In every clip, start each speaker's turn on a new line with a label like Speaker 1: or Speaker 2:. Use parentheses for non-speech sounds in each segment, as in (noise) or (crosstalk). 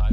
Speaker 1: I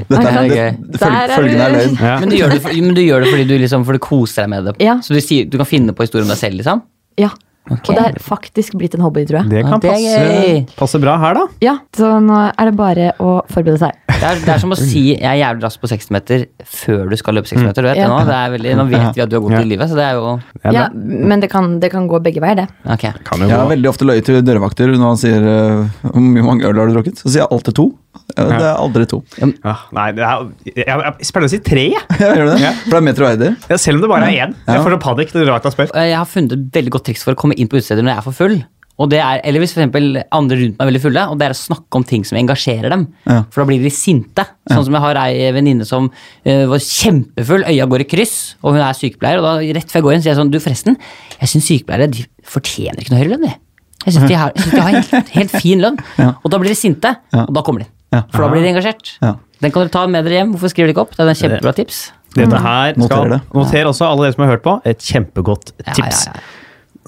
Speaker 2: Dette
Speaker 3: Nei,
Speaker 2: er,
Speaker 3: det
Speaker 2: det,
Speaker 3: er
Speaker 2: det,
Speaker 4: Der
Speaker 2: følg-
Speaker 4: er
Speaker 2: følgende er
Speaker 4: du.
Speaker 2: løgn.
Speaker 5: Ja.
Speaker 3: Men du, gjør det, for, men du gjør det fordi du, liksom, for du koser deg med det.
Speaker 4: Ja.
Speaker 3: Så du, sier, du kan finne på historien om deg selv, liksom?
Speaker 4: Ja. Og det er faktisk blitt en hobby, tror jeg.
Speaker 5: Det kan
Speaker 3: Ja, det er
Speaker 5: passe,
Speaker 3: gøy.
Speaker 5: passe bra her, da.
Speaker 4: Ja, Så nå er det bare å forberede seg.
Speaker 3: Det er, det er som å si 'jeg er jævlig rask på 60 meter' før du skal løpe 60 meter. Du vet,
Speaker 4: Mm. Ja.
Speaker 3: nå, det er veldig, nå vet vi at du har gått i livet, så det er jo
Speaker 5: Ja,
Speaker 4: Ja,
Speaker 5: det
Speaker 4: Men det kan, det kan gå begge veier, det.
Speaker 3: Ok.
Speaker 5: kan jo
Speaker 2: Jeg
Speaker 5: gå.
Speaker 2: har veldig ofte løyet til dørvakter når han sier eh, hvor mange øl har du drukket. Så sier jeg alltid to. Ja, Det er aldri to.
Speaker 5: Ja, Ah, nei, det er, jeg, jeg, jeg pleier å si tre, jeg.
Speaker 2: (laughs) Ja, gjør du det? For det er metroider.
Speaker 5: Ja, selv om det bare er én. Jeg får så panikk når Rakta spør.
Speaker 3: Jeg har funnet et veldig godt triks for å komme inn på utesteder når jeg er for full. Og det er, eller hvis for eksempel andre rundt meg er veldig fulle, og det er å snakke om ting som engasjerer dem.
Speaker 2: Ja.
Speaker 3: For da blir de sinte. Sånn som jeg har ei venninne som eh, var kjempefull, øya går i kryss, og hun er sykepleier. Og da rett før jeg går inn sier jeg sånn, du forresten, jeg syns sykepleiere de fortjener ikke noe høyere lønn, de. Jeg syns de har, jeg synes de har helt, helt fin lønn. Og da blir de sinte, og da kommer de.
Speaker 2: Ja.
Speaker 3: For da blir de engasjert.
Speaker 2: Ja.
Speaker 3: Den kan dere ta med dere hjem. Hvorfor skriver dere ikke opp? Det er et kjempebra tips.
Speaker 5: Dette
Speaker 3: Mm.
Speaker 5: her skal
Speaker 2: Noterer det.
Speaker 5: Noter også, alle dere som har hørt på, et kjempegodt
Speaker 3: Ja,
Speaker 5: tips.
Speaker 3: ja, ja.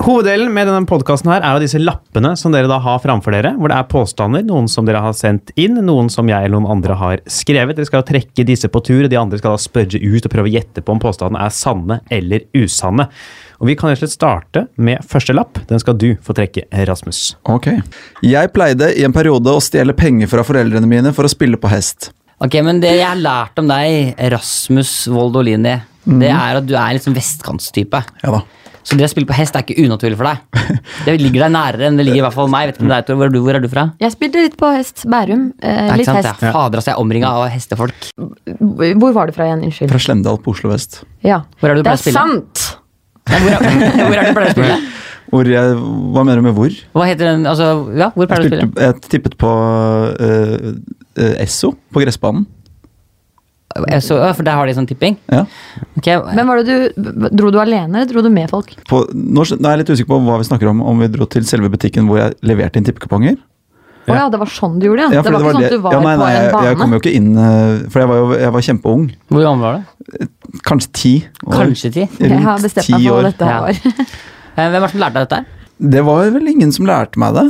Speaker 5: Hoveddelen med denne podkasten her er jo disse lappene som dere da har framfor dere, hvor det er påstander, noen som dere har sendt inn, noen som jeg eller noen andre har skrevet. Dere skal trekke disse på tur, og de andre skal da spørre ut og prøve å gjette på om påstandene er sanne eller usanne. Og vi kan rett og slett starte med første lapp. Den skal du få trekke, Rasmus.
Speaker 2: Ok. Jeg pleide i en periode å stjele penger fra foreldrene mine for å spille på hest.
Speaker 3: Ok, men det jeg har lært om deg, Rasmus Voldolini, det er at du er en liksom vestkantstype.
Speaker 2: Ja da.
Speaker 3: Så det å spille på hest er ikke unaturlig for deg. Det ligger deg nærere enn det ligger i hvert fall meg. Vet ikke om det er, Tor. hvor, er du, hvor er du fra?
Speaker 4: Jeg spilte litt på hest. Bærum. Eh,
Speaker 3: Ja, ikke
Speaker 4: litt
Speaker 3: sant?
Speaker 4: hest.
Speaker 3: Ja. Fader, altså, jeg er omringa av hestefolk.
Speaker 4: Hvor var du fra igjen? Unnskyld.
Speaker 2: Fra Slemdal på Oslo vest.
Speaker 4: Ja.
Speaker 3: Hvor er det du
Speaker 4: det
Speaker 3: pleier å
Speaker 4: er
Speaker 3: spille?
Speaker 4: sant!
Speaker 3: Nei, hvor, er, (laughs) hvor er det du pleier å spille?
Speaker 2: Hvor jeg, hva mener du med hvor?
Speaker 3: Hva heter den, altså, ja, hvor pleier du
Speaker 2: Jeg,
Speaker 3: å spille?
Speaker 2: spilte, jeg tippet på eh, eh, Esso, på gressbanen.
Speaker 3: Eh, Så, ja, for der har de sånn tipping?
Speaker 2: Ja.
Speaker 3: Ok,
Speaker 4: Men var det du, Dro du alene, eller dro du med folk?
Speaker 2: På, nå, skjø- nå er jeg litt usikker på hva vi snakker om, om vi dro til selve butikken hvor jeg leverte inn tippekuponger.
Speaker 4: Å ja. det var sånn du gjorde, ja.
Speaker 2: for
Speaker 4: det var ikke sånn at
Speaker 2: det-
Speaker 4: du var
Speaker 2: ja, nei, nei,
Speaker 4: på en
Speaker 2: Jeg, jeg kom
Speaker 4: bane.
Speaker 2: jo ikke inn, eh, for jeg var, jo, jeg var kjempeung.
Speaker 3: Hvor gammel var du?
Speaker 2: Kanskje ti. år.
Speaker 3: Kanskje ti?
Speaker 4: Jeg
Speaker 2: Rundt
Speaker 4: har bestemt
Speaker 2: ti
Speaker 4: meg for
Speaker 2: år.
Speaker 4: hva dette her
Speaker 3: Ja.
Speaker 4: var.
Speaker 3: Eh, Hvem er det som lærte deg dette? her?
Speaker 2: Det var vel ingen som lærte meg det.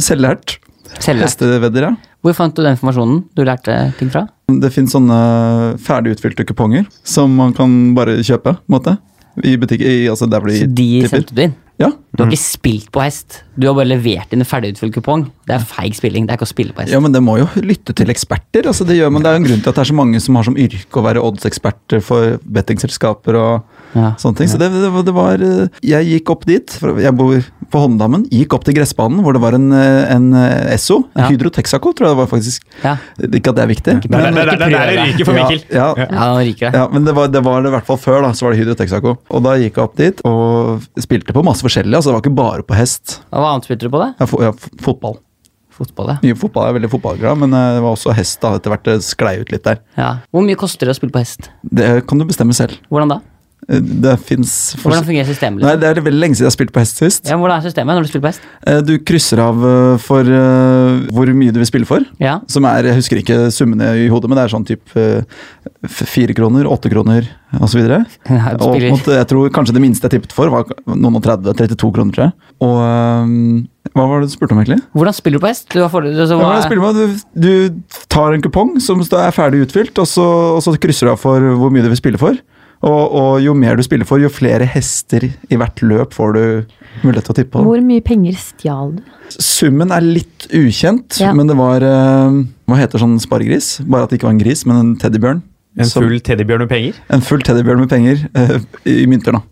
Speaker 2: Selvlært.
Speaker 3: Selvlært.
Speaker 2: Hestevedder, ja.
Speaker 3: Hvor fant du den informasjonen du lærte ting fra?
Speaker 2: Det finnes sånne ferdig utfylte kuponger som man kan bare kjøpe, på en måte. I butikk, i, altså der hvor de
Speaker 3: Så de
Speaker 2: tipper.
Speaker 3: sendte du inn?
Speaker 2: Ja.
Speaker 3: Du har ikke spilt på hest. Du har bare levert inn en ferdigutfylt kupong. Det er feig spilling. Det er ikke å spille på hest.
Speaker 2: ja, men det må jo lytte til eksperter. altså Det gjør man, det er jo en grunn til at det er så mange som har som yrke å være oddseksperter for bettingselskaper og
Speaker 3: Ja.
Speaker 2: sånne ting. Så det, det, var- det var eh, Jeg gikk opp dit, for jeg bor på Holmdammen, gikk opp til gressbanen hvor det var en, eh, en eh, Esso, en
Speaker 3: Ja.
Speaker 2: Hydro Texaco, tror jeg det var faktisk.
Speaker 3: Ja.
Speaker 2: Ikke at det er viktig.
Speaker 5: Det er der det ryker for Mikkel.
Speaker 2: Ja, ja,
Speaker 3: Ja, nå ryker det.
Speaker 2: Ja, men det var, det var det i hvert fall før, da. Så var det Hydro Texaco. Og da gikk jeg opp dit og spilte på masse forskjellig. Altså, det var ikke bare på hest.
Speaker 3: Og Hva annet spilte du på, da?
Speaker 2: Ja, fo ja, f- fotball.
Speaker 3: Fotball, ja.
Speaker 2: Mye fotball, jeg er veldig fotballglad, men eh, det var også hest da, etter hvert. Det sklei ut litt der.
Speaker 3: ja. Hvor mye koster det å spille på hest?
Speaker 2: Det kan du bestemme selv.
Speaker 3: Hvordan da?
Speaker 2: Eh, Det fins
Speaker 3: Hvordan fungerer systemet?
Speaker 2: Nei,
Speaker 3: Liksom?
Speaker 2: Det er veldig lenge siden jeg har spilt på hest sist.
Speaker 3: Ja, hvordan er systemet når du spiller på hest?
Speaker 2: Eh, Du krysser av eh, for eh, hvor mye du vil spille for.
Speaker 3: Ja.
Speaker 2: Som er, Jeg husker ikke summene i hodet, men det er sånn type eh, f- fire kroner, åtte kroner osv.
Speaker 3: Ja, du
Speaker 2: Og
Speaker 3: spiller-
Speaker 2: mot, jeg tror kanskje det minste jeg tippet for, var noen og 30, 32 kroner, tror jeg. Og ehm, hva var det du spurte om, egentlig?
Speaker 3: Hvordan spiller du på hest? Du har for...
Speaker 2: Ja,
Speaker 3: altså,
Speaker 2: hva er det
Speaker 3: hva...
Speaker 2: jeg spiller med? Du, du tar en kupong som sta- er ferdig utfylt, og så, og så krysser du av for hvor mye du vil spille for. Og, og jo mer du spiller for, jo flere hester i hvert løp får du mulighet til å tippe på.
Speaker 4: Hvor mye penger stjal du?
Speaker 2: Summen er litt ukjent,
Speaker 4: Ja.
Speaker 2: men det var eh, Hva heter sånn sparegris? Bare at det ikke var en gris, men en teddybjørn.
Speaker 5: En
Speaker 2: Som-
Speaker 5: full teddybjørn med penger?
Speaker 2: en full teddybjørn med penger eh, i mynter, da.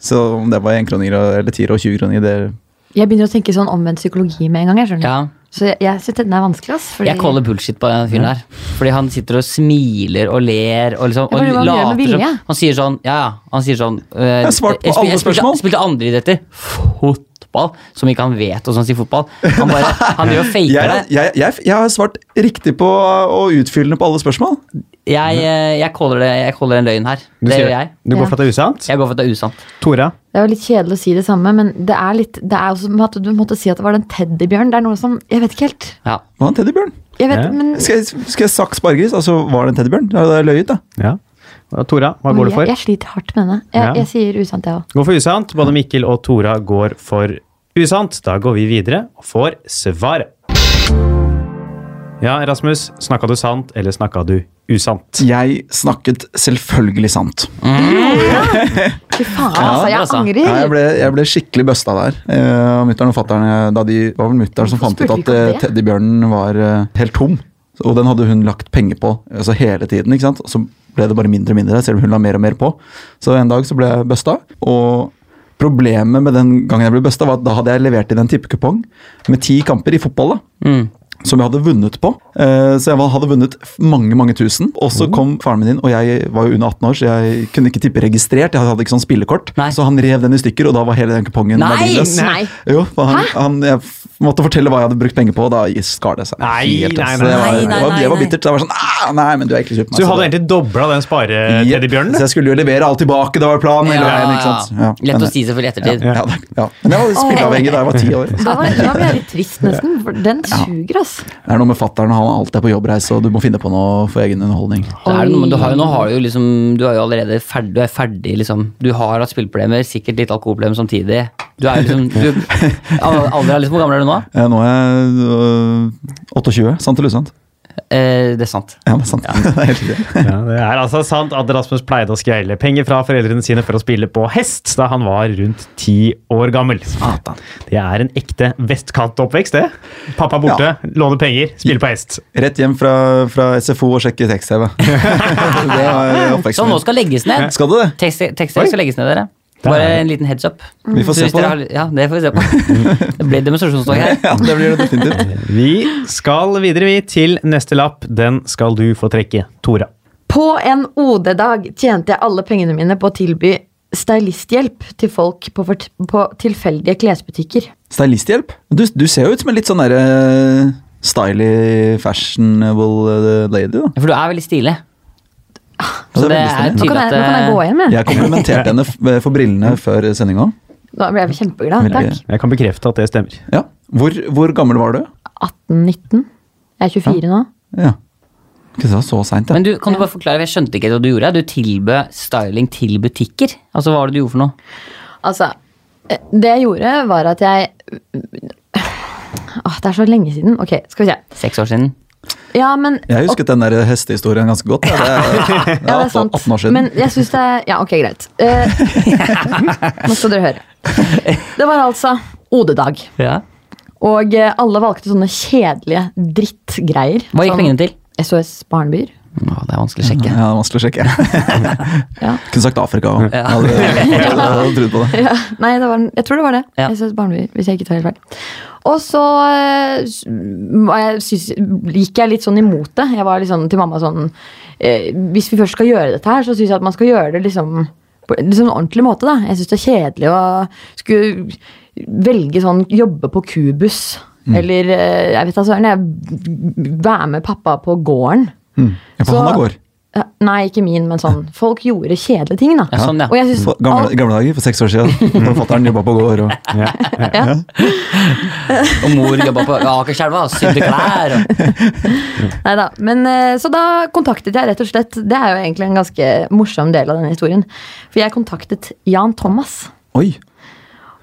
Speaker 2: Så om det var enkroninger og- eller tiere og 20 kroner, det
Speaker 4: Jeg begynner å tenke sånn omvendt psykologi med en gang. Jeg skjønner.
Speaker 3: Ja.
Speaker 4: Så jeg, jeg syns den er vanskelig. Ass, fordi-
Speaker 3: Jeg caller bullshit på den fyren der. Fordi han sitter og smiler og ler og liksom
Speaker 4: Ja,
Speaker 3: og
Speaker 4: men hva gjør han med
Speaker 3: later som
Speaker 4: vilje?
Speaker 3: Han sier sånn Ja, ja. Han sier sånn eh,
Speaker 2: Jeg svarte på
Speaker 3: spil-
Speaker 2: alle spørsmål.
Speaker 3: Jeg spilte, spilte andre idretter. Fotball. Som ikke han vet hvordan han sier fotball. Han bare
Speaker 2: (laughs)
Speaker 3: Han driver og faker
Speaker 2: jeg,
Speaker 3: det.
Speaker 2: jeg, jeg, jeg har svart riktig på og utfyllende på alle spørsmål.
Speaker 3: Jeg, eh, jeg caller det Jeg caller en løgn her.
Speaker 5: Du
Speaker 3: Det
Speaker 5: sier-
Speaker 3: gjør jeg.
Speaker 5: Du går
Speaker 4: Ja.
Speaker 5: for at det er usant?
Speaker 3: Jeg går for at det er usant.
Speaker 5: Tora?
Speaker 4: Det er jo litt kjedelig å si det samme, men det er litt Det er også med at du måtte si at det var den teddybjørnen. Det er noe som Jeg vet ikke helt.
Speaker 3: Ja.
Speaker 2: Var det en teddybjørn?
Speaker 4: Jeg vet,
Speaker 5: Ja.
Speaker 4: men
Speaker 2: Skal jeg, skal jeg sagt sparegris? Altså, var det en teddybjørn? Da har jeg løyet, da.
Speaker 5: Ja. Og Tora, hva går du
Speaker 4: Jeg,
Speaker 5: for?
Speaker 4: jeg sliter hardt med henne. Jeg,
Speaker 5: Ja.
Speaker 4: jeg sier usant, jeg òg.
Speaker 5: Går for usant. Både Mikkel og Tora går for usant. Da går vi videre og får svaret. Ja, Rasmus. Snakka du sant, eller snakka du usant?
Speaker 2: Jeg snakket selvfølgelig sant.
Speaker 4: Fy faen, altså. Jeg
Speaker 3: altså.
Speaker 4: angrer.
Speaker 2: Nei, jeg, ble, jeg ble skikkelig busta der. Eh, og mutter'n og fatter'n eh, da de, det var vel mutter'n som
Speaker 4: Hvorfor
Speaker 2: fant ut
Speaker 4: spurte
Speaker 2: at
Speaker 4: de ikke om
Speaker 2: eh,
Speaker 4: det?
Speaker 2: teddybjørnen var eh, helt tom. Og den hadde hun lagt penger på altså hele tiden. ikke sant? Og så ble det bare mindre og mindre, selv om hun la mer og mer på. Så en dag så ble jeg busta. Og problemet med den gangen jeg ble busta, var at da hadde jeg levert inn en tippekupong med ti kamper i fotball. da
Speaker 3: Mm.
Speaker 2: som jeg hadde vunnet på. Eh, Så jeg var- hadde vunnet f- mange mange tusen. Og så kom faren min inn, og jeg var jo under 18 år, så jeg kunne ikke tippe registrert. Jeg hadde ikke sånn spillekort.
Speaker 3: Nei.
Speaker 2: Så han rev den i stykker, og da var hele den kupongen
Speaker 3: Nei,
Speaker 2: verdiløs.
Speaker 4: nei.
Speaker 2: Jo, for han, han, jeg f- måtte fortelle hva jeg hadde brukt penger på, og da skar det seg.
Speaker 5: Nei,
Speaker 2: Helt,
Speaker 5: nei,
Speaker 2: ass.
Speaker 5: nei,
Speaker 2: det var,
Speaker 3: nei,
Speaker 2: det
Speaker 3: nei,
Speaker 2: var, det var
Speaker 3: nei.
Speaker 2: bittert. Så jeg var sånn, «Ah, nei, men du er egentlig kjøpt meg.
Speaker 5: Så du
Speaker 2: så
Speaker 5: hadde
Speaker 2: det-
Speaker 5: egentlig eh, dobla den
Speaker 2: Jepp, Så
Speaker 5: spare-teddybjørnen?
Speaker 2: jeg skulle jo levere alt tilbake, det var planen. hele veien, ikke sant? Ja,
Speaker 3: Lett
Speaker 2: men-
Speaker 3: å si selvfølgelig i ettertid.
Speaker 2: Ja, det- ja. Men jeg var spilleavhengig da jeg var ti år.
Speaker 4: Da, var, da ble jeg litt trist, nesten. For den suger, ass.
Speaker 2: Det er noe med fatter'n, han alltid er på jobbreise, og du må finne på noe for egen underholdning.
Speaker 3: Det er det noe, men du har jo, nå har du jo liksom Du er jo allerede ferdig, du er ferdig liksom. Du har hatt spilleproblemer, sikkert litt alkoholproblemer samtidig. Du er jo liksom
Speaker 2: (laughs)
Speaker 3: du, al- Alder er liksom Hvor gammel er du nå?
Speaker 2: Eh, Nå er jeg øh, 28. Sant eller usant?
Speaker 3: Eh, det er sant.
Speaker 2: Ja, det er sant. (laughs) det er helt riktig.
Speaker 5: Ja, det er altså sant at Rasmus pleide å skreile penger fra foreldrene sine for å spille på hest da han var rundt ti år gammel. Det er en ekte vestkantoppvekst, det. Pappa borte, låner penger, spiller på hest.
Speaker 2: Rett hjem fra, fra SFO og sjekke tekst-TV. det var øh,
Speaker 3: Så
Speaker 2: oppveksten
Speaker 3: nå
Speaker 2: min.
Speaker 3: skal legges ned.
Speaker 2: Skal du det? (laughs)
Speaker 3: Tekstdelen skal legges ned, dere. Bare en liten heads up.
Speaker 2: Vi får
Speaker 3: Så
Speaker 2: se
Speaker 3: hvis
Speaker 2: på
Speaker 3: dere
Speaker 2: det.
Speaker 3: har- Ja, det får vi se på. Det ble demonstrasjonstog her.
Speaker 2: Ja, det blir det definitivt.
Speaker 5: Vi skal videre vi til neste lapp. Den skal du få trekke, Tora.
Speaker 4: På en OD-dag tjente jeg alle pengene mine på å tilby stylisthjelp til folk på, fort- på tilfeldige klesbutikker.
Speaker 2: Stylisthjelp? Du, du ser jo ut som en litt sånn derre øh, styly, fashionable øh, lady, da.
Speaker 3: For du er veldig stilig.
Speaker 2: Så
Speaker 3: Så det
Speaker 2: det er
Speaker 3: er
Speaker 2: veldig
Speaker 4: Nå
Speaker 3: tydelig
Speaker 4: kan jeg, nå kan jeg gå
Speaker 3: at eh,
Speaker 4: hjem, jeg.
Speaker 2: Jeg komplimenterte henne f- øh, for brillene før sendinga.
Speaker 4: Nå ble jeg kjempeglad. Takk.
Speaker 5: Jeg kan bekrefte at det stemmer.
Speaker 2: Ja. Hvor, hvor gammel var du?
Speaker 4: 18-19. Jeg er 24 nå.
Speaker 2: Ja. Ikke så- så seint, ja.
Speaker 3: Men du, kan du bare forklare, for jeg skjønte ikke hva du gjorde. Du tilbød styling til butikker. Altså, hva var det du gjorde for noe?
Speaker 4: Altså, Det jeg gjorde, var at jeg Åh, Det er så lenge siden. Ok, skal vi se.
Speaker 3: Seks år siden.
Speaker 4: Ja, men
Speaker 2: Jeg husket den der hestehistorien ganske godt. Ja. Det, er- det er
Speaker 4: Ja, det er
Speaker 2: 18
Speaker 4: sant.
Speaker 2: 18 år siden.
Speaker 4: Men jeg syns det er Ja, ok, greit.
Speaker 2: (laughs)
Speaker 4: Eh, nå skal dere høre. Det var altså OD-dag,
Speaker 3: Ja.
Speaker 4: og eh, alle valgte sånne kjedelige drittgreier.
Speaker 3: Hva gikk
Speaker 4: Sånn
Speaker 3: pengene til?
Speaker 4: SOS Barnebyer.
Speaker 3: Å, det er vanskelig å sjekke.
Speaker 2: ja, det er vanskelig å sjekke.
Speaker 3: (laughs)
Speaker 4: Ja.
Speaker 2: Kunne sagt Afrika òg.
Speaker 3: Ja.
Speaker 2: Ja.
Speaker 3: (laughs)
Speaker 2: trodd på det.
Speaker 4: (laughs) Ja, nei, det var, jeg tror det var det.
Speaker 3: Ja.
Speaker 4: SOS Barnebyer, hvis jeg ikke tar helt feil. Og så eh, s- var jeg, synes, gikk jeg litt sånn imot det. Jeg var litt sånn til mamma sånn eh, Hvis vi først skal gjøre dette her, så syns jeg at man skal gjøre det liksom på en liksom ordentlig måte. da. Jeg syns det er kjedelig å skulle velge sånn jobbe på kubuss.
Speaker 3: Mm.
Speaker 4: Eller eh, jeg vet da søren. jeg- Være med pappa på gården.
Speaker 2: Mm. Ja, på
Speaker 4: Så-
Speaker 2: Hanna gård.
Speaker 4: Eh, Nei, ikke min, men sånn. Folk gjorde kjedelige ting, da.
Speaker 3: Ja, sånn, ja.
Speaker 4: Og jeg synes
Speaker 2: For gamle, i gamle dager, for seks år siden. Da fatter'n jobba på gård. Og,
Speaker 3: Og mor jobba på Akerselva og sydde klær. Og...
Speaker 4: Neida, men eh, Så da kontaktet jeg rett og slett Det er jo egentlig en ganske morsom del av denne historien. For jeg kontaktet Jan Thomas.
Speaker 2: oi!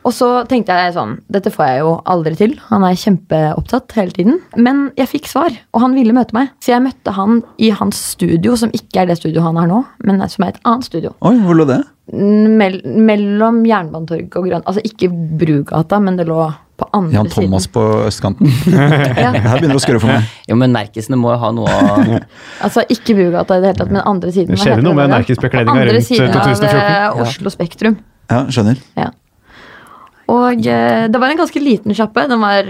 Speaker 4: Og så tenkte jeg sånn Dette får jeg jo aldri til. Han er kjempeopptatt hele tiden. Men jeg fikk svar, og han ville møte meg. Så jeg møtte han i hans studio, som ikke er det studio han har nå, men som er et annet studio.
Speaker 2: Oi, hvor lå det?
Speaker 4: Mell mellom Jernbanetorget og Grønn... Altså ikke Brugata, men det lå på andre
Speaker 2: Jan
Speaker 4: siden.
Speaker 2: Thomas på østkanten. (laughs)
Speaker 4: Ja.
Speaker 2: Det her begynner å skurre for meg.
Speaker 3: Jo, men Nerkisene må jo ha noe å
Speaker 4: Altså ikke Brugata i det hele tatt, men andre siden.
Speaker 5: Det
Speaker 4: Hva
Speaker 5: skjer
Speaker 4: heter
Speaker 5: noe med
Speaker 4: der?
Speaker 5: anarkisbekledningen
Speaker 4: Andre
Speaker 5: rundt,
Speaker 4: siden av,
Speaker 5: 2014.
Speaker 4: eh, Oslo Spektrum.
Speaker 2: Ja, skjønner.
Speaker 4: Ja. Og eh, det var en ganske liten sjappe. Den var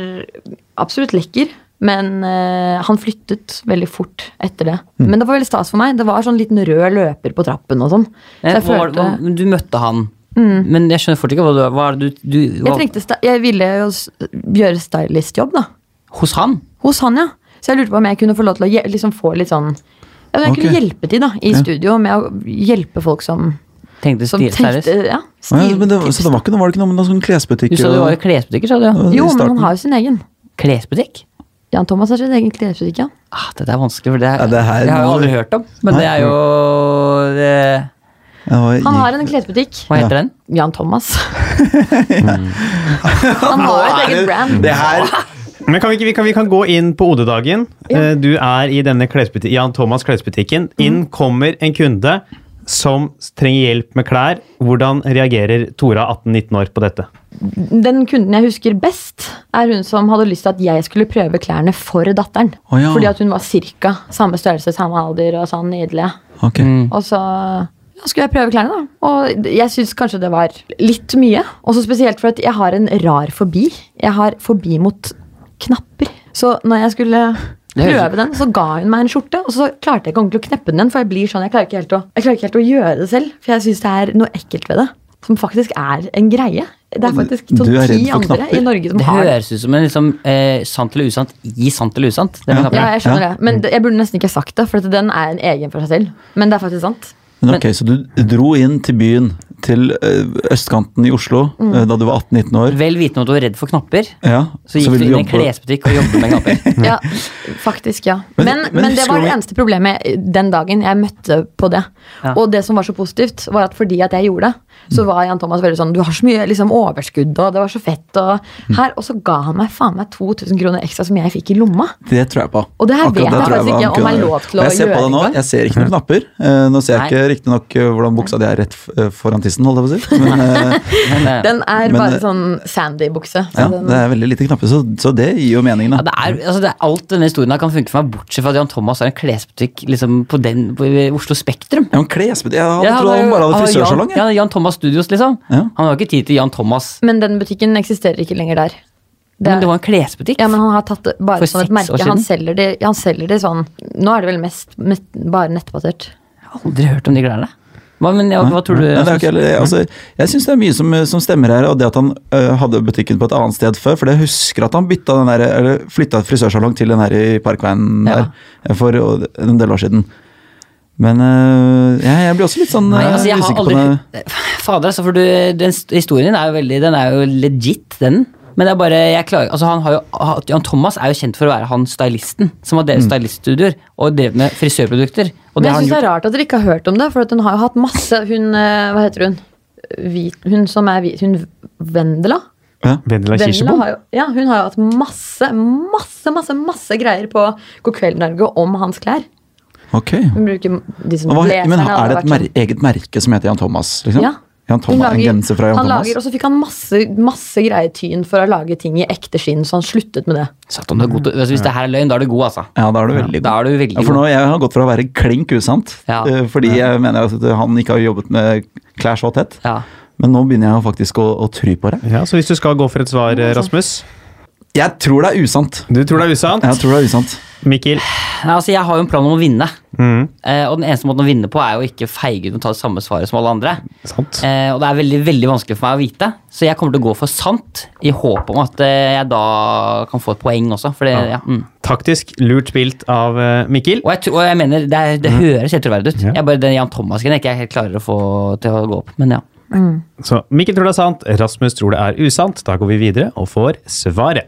Speaker 4: absolutt lekker. Men eh, han flyttet veldig fort etter det.
Speaker 5: Mm.
Speaker 4: Men det var veldig stas for meg. Det var sånn liten rød løper på trappen og sånn. Så
Speaker 3: Nei,
Speaker 4: jeg
Speaker 3: Eh, hva var det-
Speaker 4: følte Mm.
Speaker 3: hva- men Du møtte han, men jeg skjønner fortsatt ikke hva du, hva er det du, du hva,
Speaker 4: Jeg, trengte, sta- jeg ville jo s- gjøre stylistjobb, da.
Speaker 3: Hos han?
Speaker 4: Hos han, ja. Så jeg lurte på om jeg kunne få lov til å hje- liksom få litt sånn ja, Jeg kunne
Speaker 2: Ok.
Speaker 4: hjelpe til da, i studio med å hjelpe folk som,
Speaker 3: Tenkte
Speaker 4: som tenkte
Speaker 3: stilstylist?
Speaker 4: ja,
Speaker 2: Å Ja, men det, var-
Speaker 4: stiltips.
Speaker 2: så det var ikke noe, var det ikke noe med noen sånn klesbutikk?
Speaker 3: Du sa du
Speaker 2: og-
Speaker 3: var i klesbutikker, sa du? ja?
Speaker 2: i
Speaker 4: Jo, men han
Speaker 2: starten.
Speaker 4: har jo sin egen.
Speaker 3: Klesbutikk?
Speaker 4: Jan Thomas har sin egen klesbutikk, ja.
Speaker 3: Ah, dette er vanskelig, for det, er,
Speaker 2: Ja, det her
Speaker 3: det har jeg
Speaker 2: må du-
Speaker 3: aldri hørt om. Men
Speaker 2: Nei.
Speaker 3: det er jo det,
Speaker 2: Jeg var
Speaker 4: Han
Speaker 2: i-
Speaker 4: har en klesbutikk.
Speaker 3: Hva heter den?
Speaker 2: (laughs)
Speaker 4: Jan Thomas. Han har jo et eget brand.
Speaker 2: Det her
Speaker 5: Men kan vi, ikke, vi, kan, vi kan gå inn på OD-dagen. Eh, Du er i denne klesbuti- Jan Thomas klesbutikken. Inn kommer en kunde som trenger hjelp med klær. Hvordan reagerer Tora, 18-19 år, på dette?
Speaker 4: Den kunden jeg husker best, er hun som hadde lyst til at jeg skulle prøve klærne for datteren.
Speaker 2: Å ja.
Speaker 4: Fordi at hun var cirka samme størrelse, samme alder og sånn nydelig.
Speaker 2: Ok.
Speaker 3: Mm.
Speaker 4: Og så ja, skulle jeg prøve klærne, da. Og jeg syns kanskje det var litt mye. Og så spesielt for at jeg har en rar fobi. Jeg har fobi mot knapper. Så når jeg skulle
Speaker 3: høres-
Speaker 4: prøve den, så ga hun meg en skjorte, og så klarte jeg ikke ordentlig å kneppe den igjen. For jeg blir sånn, jeg klarer ikke helt å, jeg klarer ikke helt å gjøre det selv. For jeg syns det er noe ekkelt ved det. Som faktisk er en greie. Det er faktisk
Speaker 2: Du
Speaker 4: sånn
Speaker 2: er redd
Speaker 4: ti
Speaker 2: for
Speaker 4: andre
Speaker 2: knapper?
Speaker 4: i Norge som
Speaker 3: Det
Speaker 4: har det.
Speaker 3: høres ut som en liksom, eh, sant eller usant i sant eller usant. Det med
Speaker 4: Ja,
Speaker 3: knappen.
Speaker 4: jeg skjønner det. Men det- jeg burde nesten ikke ha sagt det, for at den er en egen for seg selv. Men det er faktisk sant.
Speaker 2: Men ok, Så du dro inn til byen, til ø, østkanten i Oslo,
Speaker 3: Mm.
Speaker 2: ø, da du var 18-19 år.
Speaker 3: Vel vitende om at du var redd for knapper,
Speaker 2: Ja,
Speaker 3: så gikk
Speaker 2: ville
Speaker 3: du inn i en
Speaker 2: jobbe-
Speaker 3: klesbutikk og jobbet med knapper.
Speaker 4: Ja, faktisk, ja. Men,
Speaker 2: Men-
Speaker 4: men,
Speaker 2: men
Speaker 4: det
Speaker 2: husker
Speaker 4: var
Speaker 2: du-
Speaker 4: det eneste problemet den dagen jeg møtte på det.
Speaker 3: Ja.
Speaker 4: Og det som var så positivt, var at fordi at jeg gjorde det, så var Jan Thomas veldig sånn Du har så mye liksom, overskudd, og det var så fett, og her. Og så ga han meg faen meg 2000 kroner ekstra som jeg fikk i lomma.
Speaker 2: Det tror jeg på.
Speaker 4: Og det her
Speaker 2: Akkurat
Speaker 4: vet jeg
Speaker 2: tror
Speaker 4: faktisk
Speaker 2: på. Han
Speaker 4: ikke om
Speaker 2: kunne
Speaker 4: jeg er
Speaker 2: gjøre
Speaker 4: lov
Speaker 2: det.
Speaker 4: til å
Speaker 2: Og Jeg ser på
Speaker 4: gjøre
Speaker 2: det nå,
Speaker 4: engang.
Speaker 2: jeg ser ikke noen knapper. Eh, Nå ser jeg
Speaker 3: Nei.
Speaker 2: ikke riktignok hvordan buksa di er rett f- eh, foran tissen, holdt jeg på å si. Men
Speaker 3: (laughs)
Speaker 2: eh,
Speaker 3: Men, eh,
Speaker 4: Den er
Speaker 2: Men,
Speaker 4: bare
Speaker 2: eh,
Speaker 4: sånn Sandy-bukse. så
Speaker 2: ja,
Speaker 4: den-
Speaker 2: det er veldig lite knapper, så, så det gir jo mening,
Speaker 3: ja,
Speaker 2: da.
Speaker 3: det er, altså, det er alt denne historien her kan funke for meg, bortsett fra at Jan Thomas har en klesbutikk liksom, på, den, på i Oslo Spektrum.
Speaker 2: Ja, men klesbutikk Jeg hadde
Speaker 3: Ja,
Speaker 2: trodd
Speaker 3: det er
Speaker 2: han
Speaker 3: jo-
Speaker 2: bare hadde
Speaker 3: han har
Speaker 2: frisørsalong.
Speaker 3: Jan,
Speaker 2: jeg.
Speaker 3: ja, Jan Thomas Studios, liksom.
Speaker 2: Ja.
Speaker 3: Han har jo ikke tid til Jan Thomas.
Speaker 4: Men den butikken eksisterer ikke lenger der. Det
Speaker 3: Men
Speaker 4: er-
Speaker 3: det var en klesbutikk.
Speaker 4: Ja, men han har tatt det bare
Speaker 3: For
Speaker 4: som et
Speaker 3: seks år
Speaker 4: merke. Han
Speaker 3: siden.
Speaker 4: selger, det, han selger det sånn Nå er det vel mest, mest bare nettbasert.
Speaker 3: Jeg har aldri hørt om de klærne. Hva, men, ja, hva tror du?
Speaker 2: Nei, det er
Speaker 3: Rasmus?
Speaker 2: ikke heller- jeg- altså, jeg syns det er mye som, eh, som stemmer her, og det at han eh, hadde butikken på et annet sted før. For jeg husker at han bytta den der, eller flytta frisørsalong til den her i Parkveien
Speaker 3: Ja.
Speaker 2: der eh, for eh, en del år siden. Men eh, jeg, jeg blir også litt sånn
Speaker 3: Nei,
Speaker 2: eh,
Speaker 3: altså, jeg har
Speaker 2: usikker på
Speaker 3: aldri
Speaker 2: det.
Speaker 3: Fader, altså, for du, den st- historien din er jo veldig Den er jo legit, den. Men det er bare, jeg klarer, altså han har jo, ha- Jan Thomas er jo kjent for å være han stylisten som har
Speaker 2: Mm.
Speaker 3: drevet styliststudioer og drevet med frisørprodukter. Og
Speaker 4: Men
Speaker 3: det
Speaker 4: jeg
Speaker 3: har han
Speaker 4: synes det
Speaker 3: gjort.
Speaker 4: er rart at dere ikke har hørt om det, for at hun har jo hatt masse Hun, eh, hva heter hun? hvit, hun som er hvit, hun Vendela.
Speaker 2: Ja.
Speaker 5: Vendela
Speaker 4: Vendela
Speaker 5: Kirsebo?
Speaker 4: har jo, ja, hun har jo hatt masse, masse, masse masse greier på God kveld, Norge om hans klær.
Speaker 2: Ok.
Speaker 4: Hun bruker de som
Speaker 2: Og Hva,
Speaker 4: leserne
Speaker 2: men
Speaker 4: hadde
Speaker 2: er det
Speaker 4: vært
Speaker 2: et
Speaker 4: sånn-
Speaker 2: mer, eget merke som heter Jan Thomas? Liksom?
Speaker 4: Ja.
Speaker 2: Jan
Speaker 4: Hun
Speaker 2: Thomas, en genser fra Jan
Speaker 4: han
Speaker 2: Thomas?
Speaker 4: lager, og så fikk han masse, masse greier tyn for å lage ting i ekte skinn, så han sluttet med det.
Speaker 3: Satt om det er god til- altså, Hvis det her er løgn, da er du god, altså.
Speaker 2: Ja, da er du veldig
Speaker 3: Da
Speaker 2: god.
Speaker 3: er du veldig
Speaker 2: Mm. Ja, for
Speaker 3: god.
Speaker 2: nå, jeg har gått fra å være klink usant,
Speaker 3: Ja.
Speaker 2: eh, fordi jeg mener at han ikke har jobbet med klær så tett,
Speaker 3: Ja.
Speaker 2: men nå begynner jeg faktisk å, å tro på det.
Speaker 5: Ja, så hvis du skal gå for et svar, eh, Rasmus
Speaker 2: Jeg tror det er usant.
Speaker 5: Du tror det er usant?
Speaker 2: Jeg tror det er usant.
Speaker 5: Mikkel?
Speaker 3: Nei, altså, jeg har jo en plan om å vinne.
Speaker 5: Mm,
Speaker 3: Eh, og den eneste måten å vinne på er jo ikke feige ut og ta det samme svaret som alle andre.
Speaker 5: sant.
Speaker 3: Eh, og det er veldig veldig vanskelig for meg å vite, så jeg kommer til å gå for sant i håp om at eh, jeg da kan få et poeng også. For det, ja. mm.
Speaker 5: Taktisk lurt spilt av eh, Mikkel.
Speaker 3: og, jeg, tro- og jeg mener, det, er,
Speaker 2: Mm.
Speaker 3: det høres helt troverdig ut.
Speaker 5: Ja.
Speaker 3: Jeg bare, Den Jan Thomas-greien er ikke jeg helt klarer å få til å gå opp. Men ja.
Speaker 5: Så Mikkel tror det er sant, Rasmus tror det er usant. Da går vi videre og får svaret.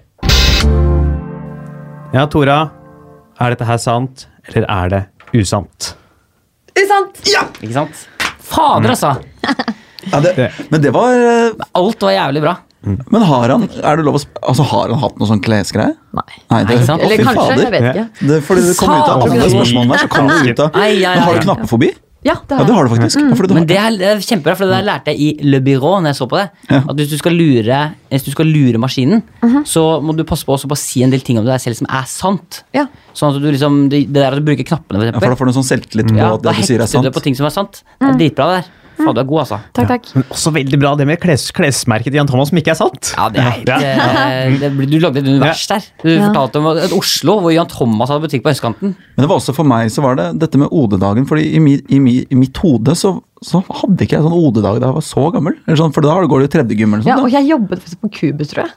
Speaker 5: Ja, Tora. Er dette her sant, eller er det usant?
Speaker 4: Usant!
Speaker 3: Ikke sant?
Speaker 2: Mm.
Speaker 3: Fader, altså!
Speaker 2: Ja, det,
Speaker 5: Det-
Speaker 2: men det var eh,
Speaker 3: Alt var jævlig bra.
Speaker 2: Men har han er det lov å sp altså, har han hatt noe sånn klesgreie?
Speaker 4: Nei.
Speaker 2: Nei, det,
Speaker 3: Nei, sant.
Speaker 2: Å,
Speaker 4: Eller
Speaker 2: fy
Speaker 4: kanskje,
Speaker 2: fader.
Speaker 4: jeg vet ikke.
Speaker 2: Det, er fordi det kom ut av alle de
Speaker 5: Sa-
Speaker 2: spørsmålene der, så kom det ut av
Speaker 3: Ai, ai, ai,
Speaker 2: Men Har
Speaker 3: ai.
Speaker 2: du knappefobi?
Speaker 4: Ja, det
Speaker 2: Ja, det
Speaker 4: har jeg. Mm.
Speaker 2: har du faktisk. Ja, fordi du
Speaker 3: Men
Speaker 2: har
Speaker 3: det er, det er kjempebra, for det der lærte jeg i Le Byrå når jeg så på det.
Speaker 2: Ja. Mhm.
Speaker 3: At hvis du skal lure, hvis du skal lure maskinen, så må du passe på også på å si en del ting om deg selv som er sant.
Speaker 4: Ja.
Speaker 3: Sånn at du liksom, det, det der at du bruker knappene, for
Speaker 2: Ja, for da
Speaker 3: eksempel.
Speaker 2: får du en sånn selvtillit på
Speaker 3: Ja,
Speaker 2: at
Speaker 3: da
Speaker 2: det du sier er
Speaker 3: hekter du deg
Speaker 2: sant. Mm.
Speaker 3: på ting som er sant. Det er dritbra det der. Faen, du er god, altså.
Speaker 4: Takk, takk.
Speaker 5: Men også veldig bra det med kles klesmerket til Jan Thomas som ikke er sant.
Speaker 3: Ja, det er helt, eh, det, blir- Du lagde et univers der. Du
Speaker 4: Ja.
Speaker 3: fortalte om et Oslo hvor Jan Thomas hadde butikk på østkanten.
Speaker 2: Men det var også for meg så var det dette med OD-dagen. fordi i, mi, i, mi, i mitt hode så, så hadde ikke jeg sånn OD-dag da jeg var så gammel. Eller sånn, for da går det jo tredje gym eller
Speaker 4: Ja,
Speaker 2: sånn.
Speaker 4: og
Speaker 2: da.
Speaker 4: jeg jobbet faktisk på Cubus,
Speaker 2: (laughs)
Speaker 4: tror jeg.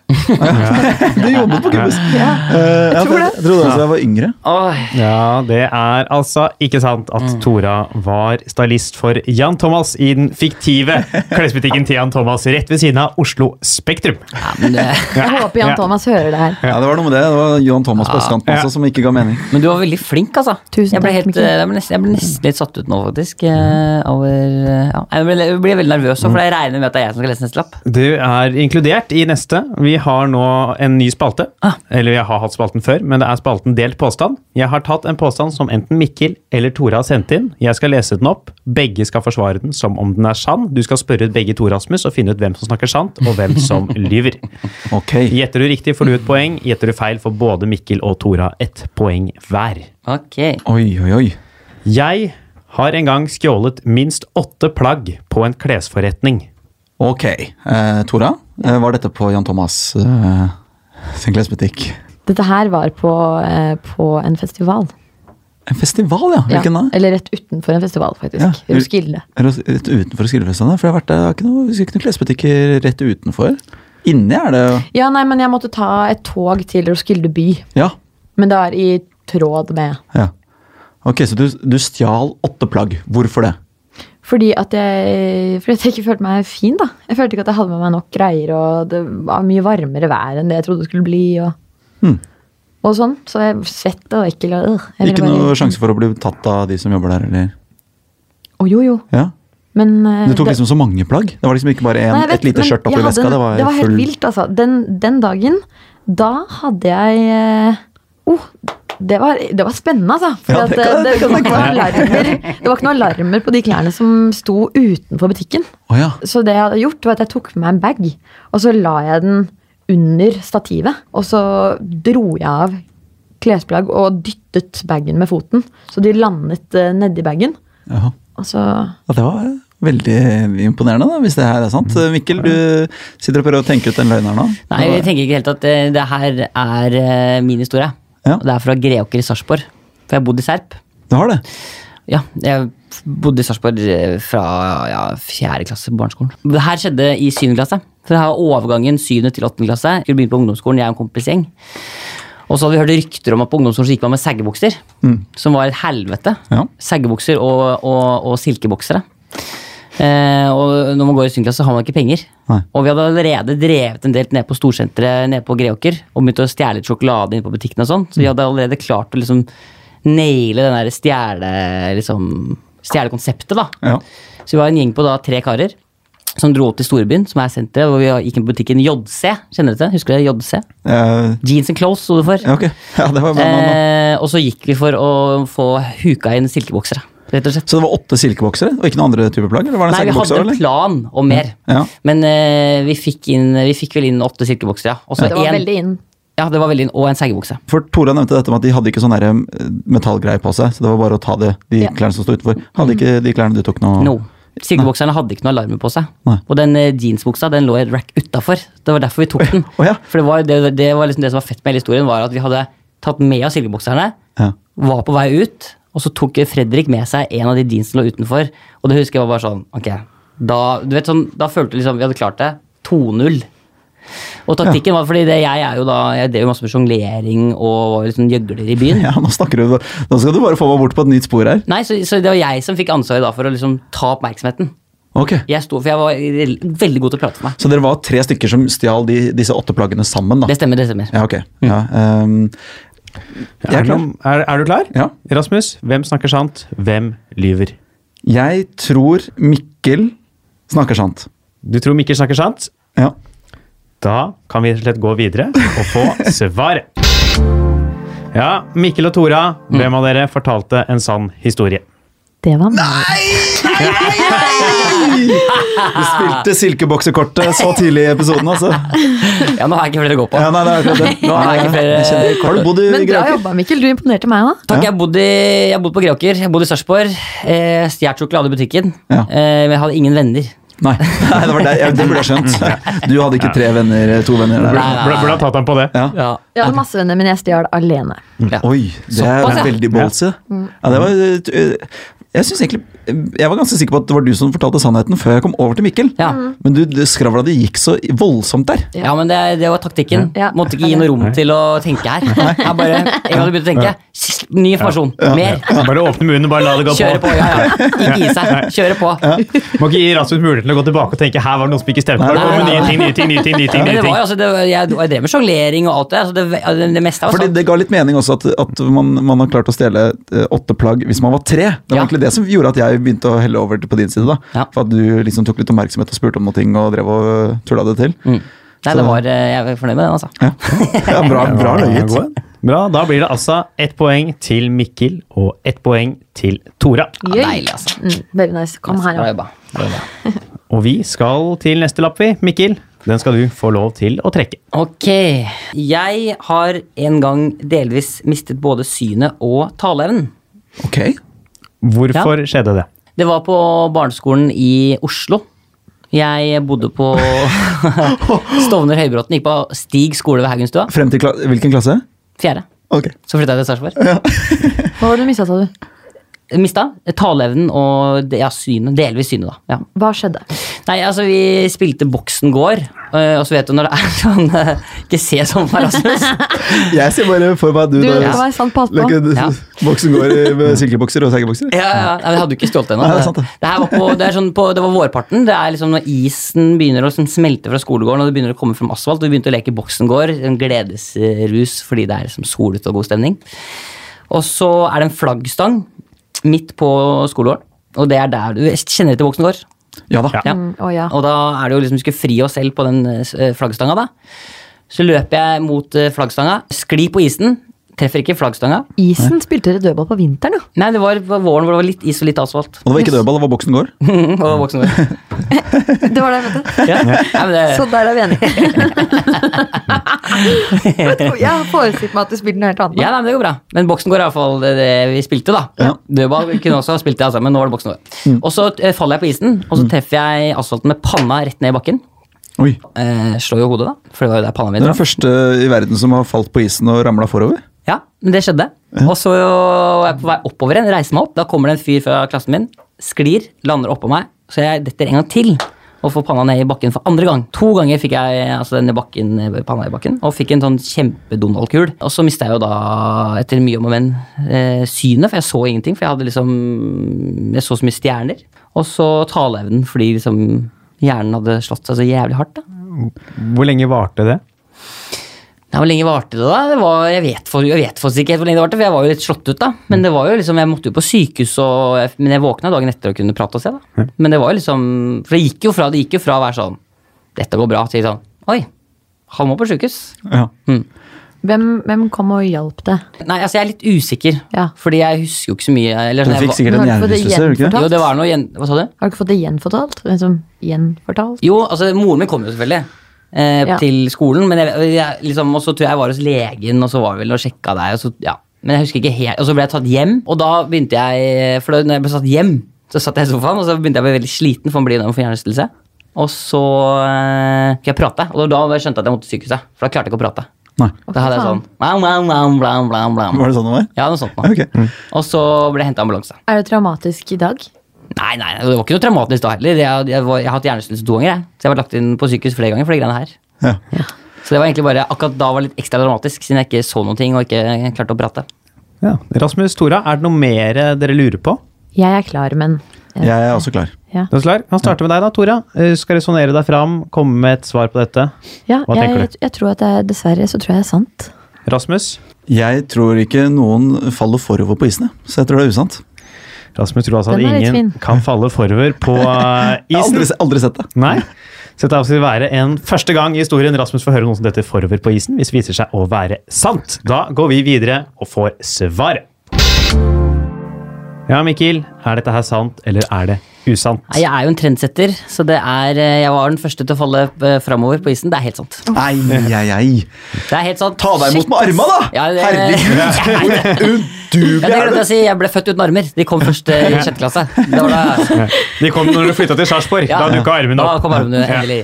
Speaker 2: Du jobbet på Kubus.
Speaker 4: Ja.
Speaker 2: Eh, ja,
Speaker 4: tror
Speaker 2: for jeg,
Speaker 4: det.
Speaker 2: jeg trodde også jeg var yngre.
Speaker 3: Åh,
Speaker 5: Ja, det er altså ikke sant at
Speaker 3: Mm.
Speaker 5: Tora var stylist for Jan Thomas i den fiktive klesbutikken til Jan Thomas rett ved siden av Oslo Spektrum.
Speaker 3: ja, men, det,
Speaker 4: Jeg håper Jan
Speaker 5: Ja.
Speaker 4: Thomas hører det her.
Speaker 2: Ja, Det var noe med det. Det var Johan Thomas på østkanten
Speaker 5: Ja.
Speaker 2: også som ikke ga mening.
Speaker 3: men du var veldig flink, altså.
Speaker 4: Tusen
Speaker 3: jeg ble,
Speaker 4: takk,
Speaker 3: helt,
Speaker 4: Mikkel.
Speaker 3: eh, jeg, ble nesten, jeg ble nesten litt satt ut nå, faktisk. eh, Over, eh, ja. Jeg ble, jeg ble veldig nervøs, også, for jeg regner med at det er jeg som skal lese neste lapp.
Speaker 5: Du er inkludert i neste. Vi har nå en ny spalte.
Speaker 3: Ah.
Speaker 5: Eller jeg har hatt spalten før, men det er spalten Delt påstand. Jeg har tatt en påstand som enten Mikkel eller Tora har sendt inn. Jeg skal lese den opp. Begge skal forsvare den som om den er sann. Du skal spørre begge to, Rasmus, og finne ut hvem som snakker sant, og hvem som lyver.
Speaker 2: Ok.
Speaker 5: Gjetter du riktig, får du et poeng. Gjetter du feil, får både Mikkel og Tora ett poeng hver.
Speaker 3: Ok.
Speaker 2: Oi, oi, oi.
Speaker 5: Jeg har en gang skjålet minst åtte plagg på en klesforretning.
Speaker 2: Ok. Eh, Tora, eh, var dette på Jan Thomas eh, sin klesbutikk?
Speaker 4: Dette her var på, eh, på en festival.
Speaker 2: En festival, ja.
Speaker 4: Ja.
Speaker 2: Hvilken da?
Speaker 4: Eller rett utenfor en festival, faktisk.
Speaker 2: Ja.
Speaker 4: Roskilde.
Speaker 2: Er det Rett utenfor Skillefestene? For jeg har vært der, det er ikke noe, det er ikke noen klesbutikker rett utenfor. Inni er det
Speaker 4: Ja, nei, men jeg måtte ta et tog til Roskilde by.
Speaker 2: Ja.
Speaker 4: Men det var i tråd med
Speaker 2: ja. Ok, så du, du stjal åtte plagg. Hvorfor det?
Speaker 4: Fordi at jeg, fordi at jeg ikke følte meg fin, da. Jeg følte ikke at jeg hadde med meg nok greier, og det var mye varmere vær enn det jeg trodde det skulle bli. Og,
Speaker 2: Hmm.
Speaker 4: og sånn. Så jeg svett og ekkel. Og, øh, jeg ville
Speaker 2: Ikke
Speaker 4: bare-
Speaker 2: noe sjanse for å bli tatt av de som jobber der, eller?
Speaker 4: Å, jo, jo.
Speaker 2: Ja.
Speaker 4: Men eh,
Speaker 2: Du tok
Speaker 4: det-
Speaker 2: liksom så mange plagg? Det var liksom ikke bare en,
Speaker 4: Nei, jeg vet,
Speaker 2: et lite
Speaker 4: men
Speaker 2: skjørt
Speaker 4: jeg
Speaker 2: oppi
Speaker 4: hadde
Speaker 2: veska?
Speaker 4: en-
Speaker 2: Det var,
Speaker 4: det var helt
Speaker 2: full
Speaker 4: vilt, altså. Den, den dagen, da hadde jeg eh, oh, det var, det var spennende, altså. For
Speaker 2: Ja,
Speaker 4: at,
Speaker 2: det
Speaker 4: eh,
Speaker 2: kan-
Speaker 4: det,
Speaker 2: det kan
Speaker 4: var ikke noen alarmer, det var ikke noen alarmer på de klærne som sto utenfor butikken.
Speaker 2: Å ja.
Speaker 4: Så det jeg hadde gjort, var at jeg tok med meg en bag, og så la jeg den under stativet. Og så dro jeg av klesplagg og dyttet bagen med foten, så de landet eh, nedi bagen.
Speaker 2: Jaha.
Speaker 4: Og så
Speaker 2: ja. Det var veldig imponerende, da, hvis det her er sant.
Speaker 4: Mm.
Speaker 2: Mikkel, du sitter og prøver å tenke ut den løgnen her nå.
Speaker 3: Nei, jeg tenker ikke helt at eh, det her er eh, min historie.
Speaker 2: Ja.
Speaker 3: Og Det er fra Greåker i Sarpsborg. For jeg bodde i Serp.
Speaker 2: Du har det?
Speaker 3: Ja, jeg bodde i Sarpsborg eh, fra ja, fjerde klasse på barneskolen. Det her skjedde i syvende klasse. For det her var overgangen syvende til åttende klasse. Skulle begynne på ungdomsskolen, jeg og en kompisgjeng. Og så hadde vi hørt rykter om at på ungdomsskolen så gikk man med saggebukser. Som var et helvete.
Speaker 2: Ja.
Speaker 3: Saggebukser og, og, og silkeboksere. Eh, og når man går i syvende klasse, så har man ikke penger.
Speaker 2: Nei.
Speaker 3: Og vi hadde allerede drevet en del ned på storsenteret nede på Greåker. Og begynt å stjele litt sjokolade inne på butikken og sånn.
Speaker 2: Mm.
Speaker 3: Så vi hadde allerede klart å liksom naile den der stjele... Liksom, stjelekonseptet, da.
Speaker 2: Ja.
Speaker 3: Så vi var en gjeng på da tre karer. som dro opp til storbyen, som er senteret, hvor vi gikk inn på butikken JC. Kjenner dere det? Husker dere JC?
Speaker 2: Eh,
Speaker 3: Jeans and clothes sto det for.
Speaker 2: ja, ok. Ja, det var bra navn, da.
Speaker 3: Eh, og så gikk vi for å få huka inn silkeboksere, rett og slett.
Speaker 2: Så det var åtte silkeboksere, og ikke noen andre typer plagg? Eller var det
Speaker 3: Nei, vi hadde
Speaker 2: silkebokser,
Speaker 3: en
Speaker 2: eller?
Speaker 3: plan om mer,
Speaker 2: Ja.
Speaker 3: men eh, vi, fikk inn, vi fikk vel inn åtte silkeboksere. Ja. Og så
Speaker 4: Det var
Speaker 3: en-
Speaker 4: veldig inn.
Speaker 3: Ja, det var veldig inn, og en seigebukse.
Speaker 2: For Tora nevnte dette med at de hadde ikke sånn der, eh, metallgreie på seg, så det var bare å ta det, de
Speaker 4: Ja.
Speaker 2: klærne som sto utenfor. Hadde ikke de klærne du tok nå?
Speaker 3: No. Silkebokserne hadde ikke noe alarmer på seg.
Speaker 2: Nei.
Speaker 3: Og den eh, jeansbuksa den lå i et rack utafor. Det var derfor vi
Speaker 2: (laughs)
Speaker 3: tok den.
Speaker 2: Å ja.
Speaker 3: For det, var, det, det var liksom det som var fett med hele historien, var at vi hadde tatt med oss silkebokserne,
Speaker 2: Ja.
Speaker 3: var på vei ut, og så tok Fredrik med seg en av de jeansene som lå utenfor. Og det husker jeg var bare sånn, ok, da, du vet sånn, da følte jeg liksom vi hadde klart det. 2-0. Og taktikken var fordi det, jeg er jo da, jeg drev jo masse med sjonglering og var liksom gjøgler i byen.
Speaker 2: Ja, nå snakker du Nå skal du bare få meg bort på et nytt spor her.
Speaker 3: Nei, så, så det var jeg som fikk ansvaret da for å liksom ta oppmerksomheten.
Speaker 2: Ok.
Speaker 3: Jeg sto, for jeg var rel- veldig god til å prate for meg.
Speaker 2: Så dere var tre stykker som stjal de, disse åtte plaggene sammen, da?
Speaker 3: Det stemmer, det stemmer. Mm.
Speaker 2: Ja, ok. Ja, ehm, jeg er
Speaker 5: Er,
Speaker 2: klar.
Speaker 5: du- er, er du klar?
Speaker 2: Ja.
Speaker 5: Rasmus, hvem snakker sant? Hvem lyver?
Speaker 2: Jeg tror Mikkel snakker sant.
Speaker 5: Du tror Mikkel snakker sant?
Speaker 3: (laughs)
Speaker 2: Ja.
Speaker 5: Da kan vi rett og slett gå videre og få svaret. Ja, Mikkel og Tora, hvem av dere fortalte en sann historie?
Speaker 4: Det var meg.
Speaker 2: Du spilte silkeboksekortet så tidlig i episoden, altså.
Speaker 3: Ja, nå har jeg ikke flere å gå på.
Speaker 2: Ja, nei, det er akkurat det. Nå er jeg, jeg kjenner, har du bodd i
Speaker 4: Men bra
Speaker 2: Greker?
Speaker 4: jobba, Mikkel. Du imponerte meg òg.
Speaker 3: Takk, jeg har bodd i- jeg har bodd på Greåker, jeg har bodd i Sarpsborg. Eh, Stjålet sjokolade i butikken.
Speaker 2: Ja.
Speaker 3: Eh, men jeg hadde ingen venner.
Speaker 2: Nei, (laughs) nei, det var deg. Jeg- Det burde jeg skjønt. Du hadde ikke tre venner, eh, to venner der.
Speaker 3: Nei, nei, nei.
Speaker 5: Burde burde ha tatt ham på det.
Speaker 2: Ja.
Speaker 3: Ja.
Speaker 4: Jeg hadde masse venner, men jeg stjal alene.
Speaker 3: Ja.
Speaker 2: Oi, det er
Speaker 3: Såpass, ja.
Speaker 2: veldig ballsy. Ja, det var eh, Jeg synes egentlig Jeg var ganske sikker på at det var du som fortalte sannheten før jeg kom over til Mikkel. Mm.
Speaker 3: Ja.
Speaker 2: Men du, det skravla det gikk så voldsomt der.
Speaker 3: Ja, men det, det var taktikken.
Speaker 4: Ja.
Speaker 3: Måtte ikke gi noe rom til å tenke her. Jeg bare, en gang du begynte å tenke, sss, ny informasjon, mer.
Speaker 5: Bare åpne munnen og bare la det gå
Speaker 3: Kjøre på, ja, ja. Ikke gi seg. Kjøre på.
Speaker 5: Må ikke gi Rasmus muligheten til å gå tilbake og tenke her var det noe som ikke stemte. Her
Speaker 2: Nei,
Speaker 5: kommer
Speaker 3: nei,
Speaker 5: nye
Speaker 3: nei.
Speaker 5: ting, nye ting, nye ting, nye ting,
Speaker 3: Men
Speaker 5: nye
Speaker 3: det var,
Speaker 5: ting.
Speaker 3: jo altså, det var, jeg, jeg drev med sjonglering og alt det. Altså, det, det, det meste var sånn.
Speaker 2: Fordi
Speaker 3: sant.
Speaker 2: Det ga litt mening også at, at man, man har klart å stjele eh, åtte plagg hvis man var tre. Det var
Speaker 3: Ja.
Speaker 2: egentlig det som gjorde at jeg begynte å helle over til- på din side. da
Speaker 3: Ja.
Speaker 2: For at du liksom tok litt oppmerksomhet og spurte om noe ting og drev og eh, tulla det til.
Speaker 3: Mm. Nei, det var, eh, jeg er fornøyd med den, altså.
Speaker 2: (laughs) Ja. Ja, bra bra løyet.
Speaker 5: Bra, da blir det altså ett poeng til Mikkel og ett poeng til Tora.
Speaker 3: Ja, deilig, altså.
Speaker 4: Mm, very nice. Kom her,
Speaker 3: Bra
Speaker 4: ja.
Speaker 3: jobba. Bra jobba.
Speaker 5: Og vi skal til neste lapp, vi. Mikkel, den skal du få lov til å trekke.
Speaker 3: Ok. Jeg har en gang delvis mistet både synet og taleevnen.
Speaker 2: Ok.
Speaker 5: Hvorfor skjedde det?
Speaker 3: Det var på barneskolen i Oslo. Jeg bodde på Stovner Høybråten. Gikk på Stig skole ved Haugenstua.
Speaker 2: Frem til kla hvilken klasse?
Speaker 3: Fjerde.
Speaker 2: Ok.
Speaker 3: Så flytta jeg til Sarpsborg.
Speaker 4: Hva var det du mista, sa du?
Speaker 3: Mista taleevnen og det- ja, synet. Delvis synet, da. Ja.
Speaker 4: Hva skjedde?
Speaker 3: Nei, altså vi spilte Boksen gård, eh, og så vet du når det er sånn eh, Ikke se sånn på Rasmus.
Speaker 2: Jeg ser bare for meg at du,
Speaker 4: Du,
Speaker 2: da-
Speaker 4: det var sant på
Speaker 2: Like,
Speaker 4: Alpå.
Speaker 3: Ja.
Speaker 2: Boksen går i (laughs) med silkebokser og seigebokser.
Speaker 3: Ja, ja, ja. Nei, vi hadde jo ikke stjålet ennå.
Speaker 2: Nei, det er
Speaker 3: Det,
Speaker 2: sant det.
Speaker 3: det, her var på, det, er sånn på, det var vårparten. Det er liksom når isen begynner å liksom smelte fra skolegården, og det begynner å komme fram asfalt, og vi begynte å leke boksengård. En gledesrus fordi det er liksom solete og god stemning. Og så er det en flaggstang midt på skolegården, og det er der du kjenner til boksengård.
Speaker 2: Ja da.
Speaker 3: Ja.
Speaker 4: Mm, å ja.
Speaker 3: Og da er det jo liksom, vi skulle fri oss selv på den eh, flaggstanga, da. Så løper jeg mot eh, flaggstanga, sklir på isen, treffer ikke flaggstanga.
Speaker 4: Isen spilte dere dødball på
Speaker 3: (laughs)
Speaker 4: vinteren, ja.
Speaker 3: Nei, det var på våren hvor det var litt is og litt asfalt. (laughs)
Speaker 2: Og det var ikke dødball, det var boksen går.
Speaker 3: Og det var voksen vår.
Speaker 4: Det var det jeg mente.
Speaker 3: Ja. Nei, men det,
Speaker 4: Så der er vi
Speaker 3: (laughs)
Speaker 4: enige. Jeg tror- jeg har forestilt meg at du spilte noe helt annet.
Speaker 3: ja, nei, men det går bra. Men boksen går iallfall det, eh, det vi spilte, da. Dødball kunne også ha spilt det, altså, men nå var det boksen vår. Og så eh, faller jeg på isen, og så treffer jeg asfalten med panna rett ned i bakken.
Speaker 2: Oi.
Speaker 3: Eh, slår jo hodet, da. For det var jo der panna mi
Speaker 2: Den er
Speaker 3: traff.
Speaker 2: den første i verden som har falt på isen og ramla forover.
Speaker 3: Ja, men det skjedde. Og så er jeg på vei oppover igjen, reiser meg opp. Da kommer det en fyr fra klassen min, sklir, lander oppå meg. Så jeg detter en gang til og får panna ned i bakken for andre gang. To ganger fikk jeg altså, den i bakken, panna i bakken og fikk en sånn kjempedonaldkul. Og så mista jeg jo da, etter mye om og men, eh, synet, for jeg så ingenting. For jeg hadde liksom Jeg så så mye stjerner. Og så taleevnen, fordi liksom hjernen hadde slått seg så jævlig hardt. da.
Speaker 5: Hvor lenge varte det?
Speaker 3: Nei, Hvor lenge varte det, da? Det var, jeg, vet for, jeg vet faktisk ikke helt hvor lenge det varte, for jeg var jo litt slått ut da. Men det var jo liksom, jeg måtte jo på sykehus, og jeg, men jeg våkna dagen etter og kunne prate og se. da. Men det var jo liksom, for det gikk jo fra, det gikk jo fra å være sånn Dette går bra, til sånn Oi, han må på sykehus.
Speaker 2: Ja.
Speaker 4: Hvem, hvem kom og hjalp deg?
Speaker 3: Nei, altså jeg er litt usikker,
Speaker 4: Ja.
Speaker 3: fordi jeg husker jo ikke så mye. Eller,
Speaker 2: Hun
Speaker 3: sånn, jeg
Speaker 2: fikk
Speaker 3: var-
Speaker 2: sikkert en
Speaker 4: Nå har du fått det
Speaker 2: hjernerystelse, gjorde du ikke det?
Speaker 4: gjenfortalt.
Speaker 3: Jo, det var noe gjen... Hva sa du?
Speaker 4: Har du ikke fått det gjenfortalt? Hvem som gjenfortalt?
Speaker 3: Jo, altså moren min kom jo selvfølgelig eh,
Speaker 4: Ja.
Speaker 3: til skolen, men jeg, jeg, liksom, og så tror jeg jeg var hos legen, og så var vi vel og sjekka deg, og så, ja. Men jeg husker ikke helt, og så ble jeg tatt hjem, og da begynte jeg, for da når jeg ble satt hjem, så satt jeg i sofaen, og så begynte jeg å bli veldig sliten, for han blir jo for hjernerystelse. Og så eh, fikk jeg prate, og det var da jeg skjønte at jeg måtte til sykehuset, for da klarte jeg ikke å prate.
Speaker 2: Nei.
Speaker 3: Da hadde jeg
Speaker 4: faen.
Speaker 3: sånn, blam, blam, blam, blam, blam, blam.
Speaker 2: Var det sånn det var?
Speaker 3: Ja, noe sånt nå.
Speaker 2: Ok.
Speaker 3: Og så ble jeg hentet ambulanse.
Speaker 4: Er det traumatisk i dag?
Speaker 3: Nei, nei, det var ikke noe traumatisk da heller. Jeg, jeg, var, jeg har hatt hjernerystelse to ganger. Jeg. Så jeg har vært lagt inn på sykehus flere ganger for de greiene her.
Speaker 2: Ja.
Speaker 3: Så det var egentlig bare akkurat da var det litt ekstra dramatisk, siden jeg ikke så noen ting og ikke klarte å prate.
Speaker 5: Ja. Rasmus Tora, er det noe mer eh, dere lurer på?
Speaker 4: Jeg er klar, men
Speaker 2: Jeg er også klar.
Speaker 4: Ja,
Speaker 5: Du er klar? Kan starte med deg da, Tora. Eh, Skal resonnere deg fram, komme med et svar på dette.
Speaker 4: ja
Speaker 5: Hva
Speaker 4: jeg,
Speaker 5: tenker
Speaker 4: jeg,
Speaker 5: du?
Speaker 4: tror at jeg, dessverre så tror jeg det er sant.
Speaker 5: Rasmus?
Speaker 2: Jeg tror ikke noen faller forover på isen, jeg. så jeg tror det er usant.
Speaker 5: Rasmus tror altså at
Speaker 4: Den er litt
Speaker 5: ingen
Speaker 4: fin.
Speaker 5: kan falle forover (laughs) på eh,
Speaker 2: Jeg har
Speaker 5: isen.
Speaker 2: aldri, aldri sett det.
Speaker 5: Nei. Så dette vil være en første gang i historien Rasmus får høre noen som detter forover på isen, hvis det viser seg å være sant. Da går vi videre og får svaret. Ja, Mikkel. Er dette her sant, eller er det usant?
Speaker 3: Nei, Jeg er jo en trendsetter, så det er, eh, jeg var den første til å falle eh, framover på isen. Det er helt sant.
Speaker 2: Nei, ei, ei.
Speaker 3: Det er helt sant.
Speaker 2: Ta deg imot med arma, da!
Speaker 3: (laughs) Ja, det-
Speaker 2: Herregud, (laughs) hvor
Speaker 3: Ja,
Speaker 2: udugelig
Speaker 3: det
Speaker 2: er
Speaker 3: glemte jeg
Speaker 2: du?
Speaker 3: å si. Jeg ble født uten armer. De kom først eh, i sjette klasse. Det var da,
Speaker 5: De kom når du flytta til Sarpsborg.
Speaker 3: ja,
Speaker 5: da dukka armene
Speaker 3: Da
Speaker 5: opp.
Speaker 3: kom armene endelig.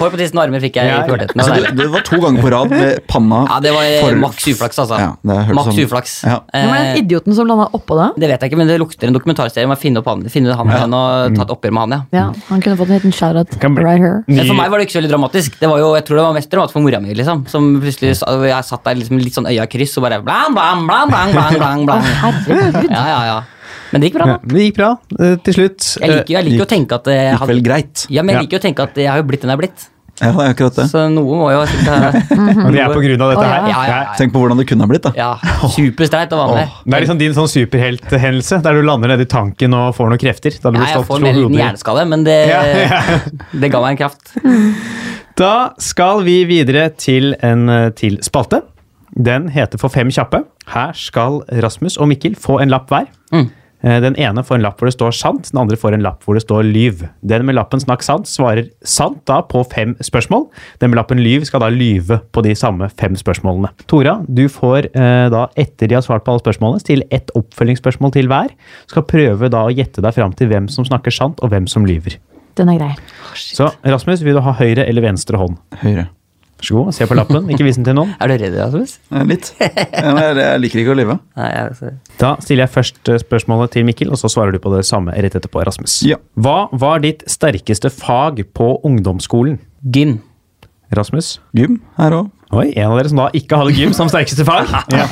Speaker 3: Hår på tissen og armer fikk jeg i
Speaker 5: Ja, ja.
Speaker 3: puberteten. Det var
Speaker 2: Altså,
Speaker 3: deilig.
Speaker 2: det, det var to ganger på rad med panna
Speaker 3: Ja, det var eh,
Speaker 2: for-
Speaker 3: maks uflaks, altså.
Speaker 2: Ja, det hørtes
Speaker 3: maks
Speaker 2: sånn-
Speaker 3: uflaks. Eh,
Speaker 2: Ja.
Speaker 4: Hvem var den idioten som landa oppå da?
Speaker 3: Det vet jeg ikke, men det lukter en dokumentarserie om å finne opp han, finne han, han og ta et oppgjør med han, ja.
Speaker 4: Ja, han kunne fått en liten shout-out
Speaker 5: Mm. Kan bli-
Speaker 4: right here.
Speaker 3: Men for meg var det ikke så veldig dramatisk. Det var jo, jeg tror det var mest dramatisk for mora mi. liksom. Som plutselig, sa- og Jeg satt der liksom litt sånn øya i kryss og bare blam, blam, blam, blam, blam, blam, blam. Ja, ja, ja. Men det gikk bra,
Speaker 5: Ja,
Speaker 3: da.
Speaker 5: men det gikk bra eh, til slutt. Eh,
Speaker 3: Jeg liker, jo- jeg liker jo å tenke at jeg
Speaker 2: Gikk vel greit.
Speaker 3: ja, men jeg
Speaker 5: Ja.
Speaker 3: liker jo å tenke at eh, jeg har jo blitt den jeg har blitt.
Speaker 2: Ja, det er akkurat det.
Speaker 3: Så noe må jo sikkert
Speaker 5: Eh, og det er på grunn av
Speaker 4: Å,
Speaker 5: dette
Speaker 4: ja.
Speaker 5: her.
Speaker 3: Ja, ja, ja.
Speaker 2: Tenk på hvordan det kunne ha blitt, da.
Speaker 3: ja,
Speaker 2: (laughs)
Speaker 3: Superstreit og vanlig.
Speaker 2: Åh.
Speaker 5: Det er liksom din sånn superhelthendelse, der du lander nedi tanken og får noen krefter. Da du
Speaker 3: Ja,
Speaker 5: blir
Speaker 3: jeg
Speaker 5: slått
Speaker 3: får
Speaker 5: to
Speaker 3: mer en liten
Speaker 5: hoder.
Speaker 3: hjerneskade, men det,
Speaker 5: Ja, ja.
Speaker 3: (laughs) det ga meg en kraft.
Speaker 5: Da skal vi videre til en eh, til spalte. Den heter For fem kjappe. Her skal Rasmus og Mikkel få en lapp hver. Eh, Den ene får en lapp hvor det står sant, den andre får en lapp hvor det står lyv. Den med lappen snakk sant svarer sant da på fem spørsmål. Den med lappen lyv skal da lyve på de samme fem spørsmålene. Tora, du får eh, da etter de har svart på alle spørsmålene, stille ett oppfølgingsspørsmål til hver. Skal prøve da å gjette deg fram til hvem som snakker sant og hvem som lyver.
Speaker 4: Den er grei.
Speaker 5: Så Rasmus, vil du ha høyre eller venstre hånd?
Speaker 3: (laughs)
Speaker 2: Høyre.
Speaker 5: Vær så god, se på lappen. Ikke vis den til noen.
Speaker 3: Er du redd, Rasmus?
Speaker 2: Eh, Litt. Ja, men Jeg, jeg liker ikke å lyve.
Speaker 3: Nei, jeg,
Speaker 5: Da stiller jeg først eh, spørsmålet til Mikkel, og så svarer du på det samme rett etterpå, Rasmus.
Speaker 2: Ja.
Speaker 5: Hva var ditt sterkeste fag på ungdomsskolen?
Speaker 3: Gym.
Speaker 5: Rasmus?
Speaker 2: Gym her òg.
Speaker 5: Oi, en av dere som da ikke hadde gym som sterkeste (laughs) fag. Ja.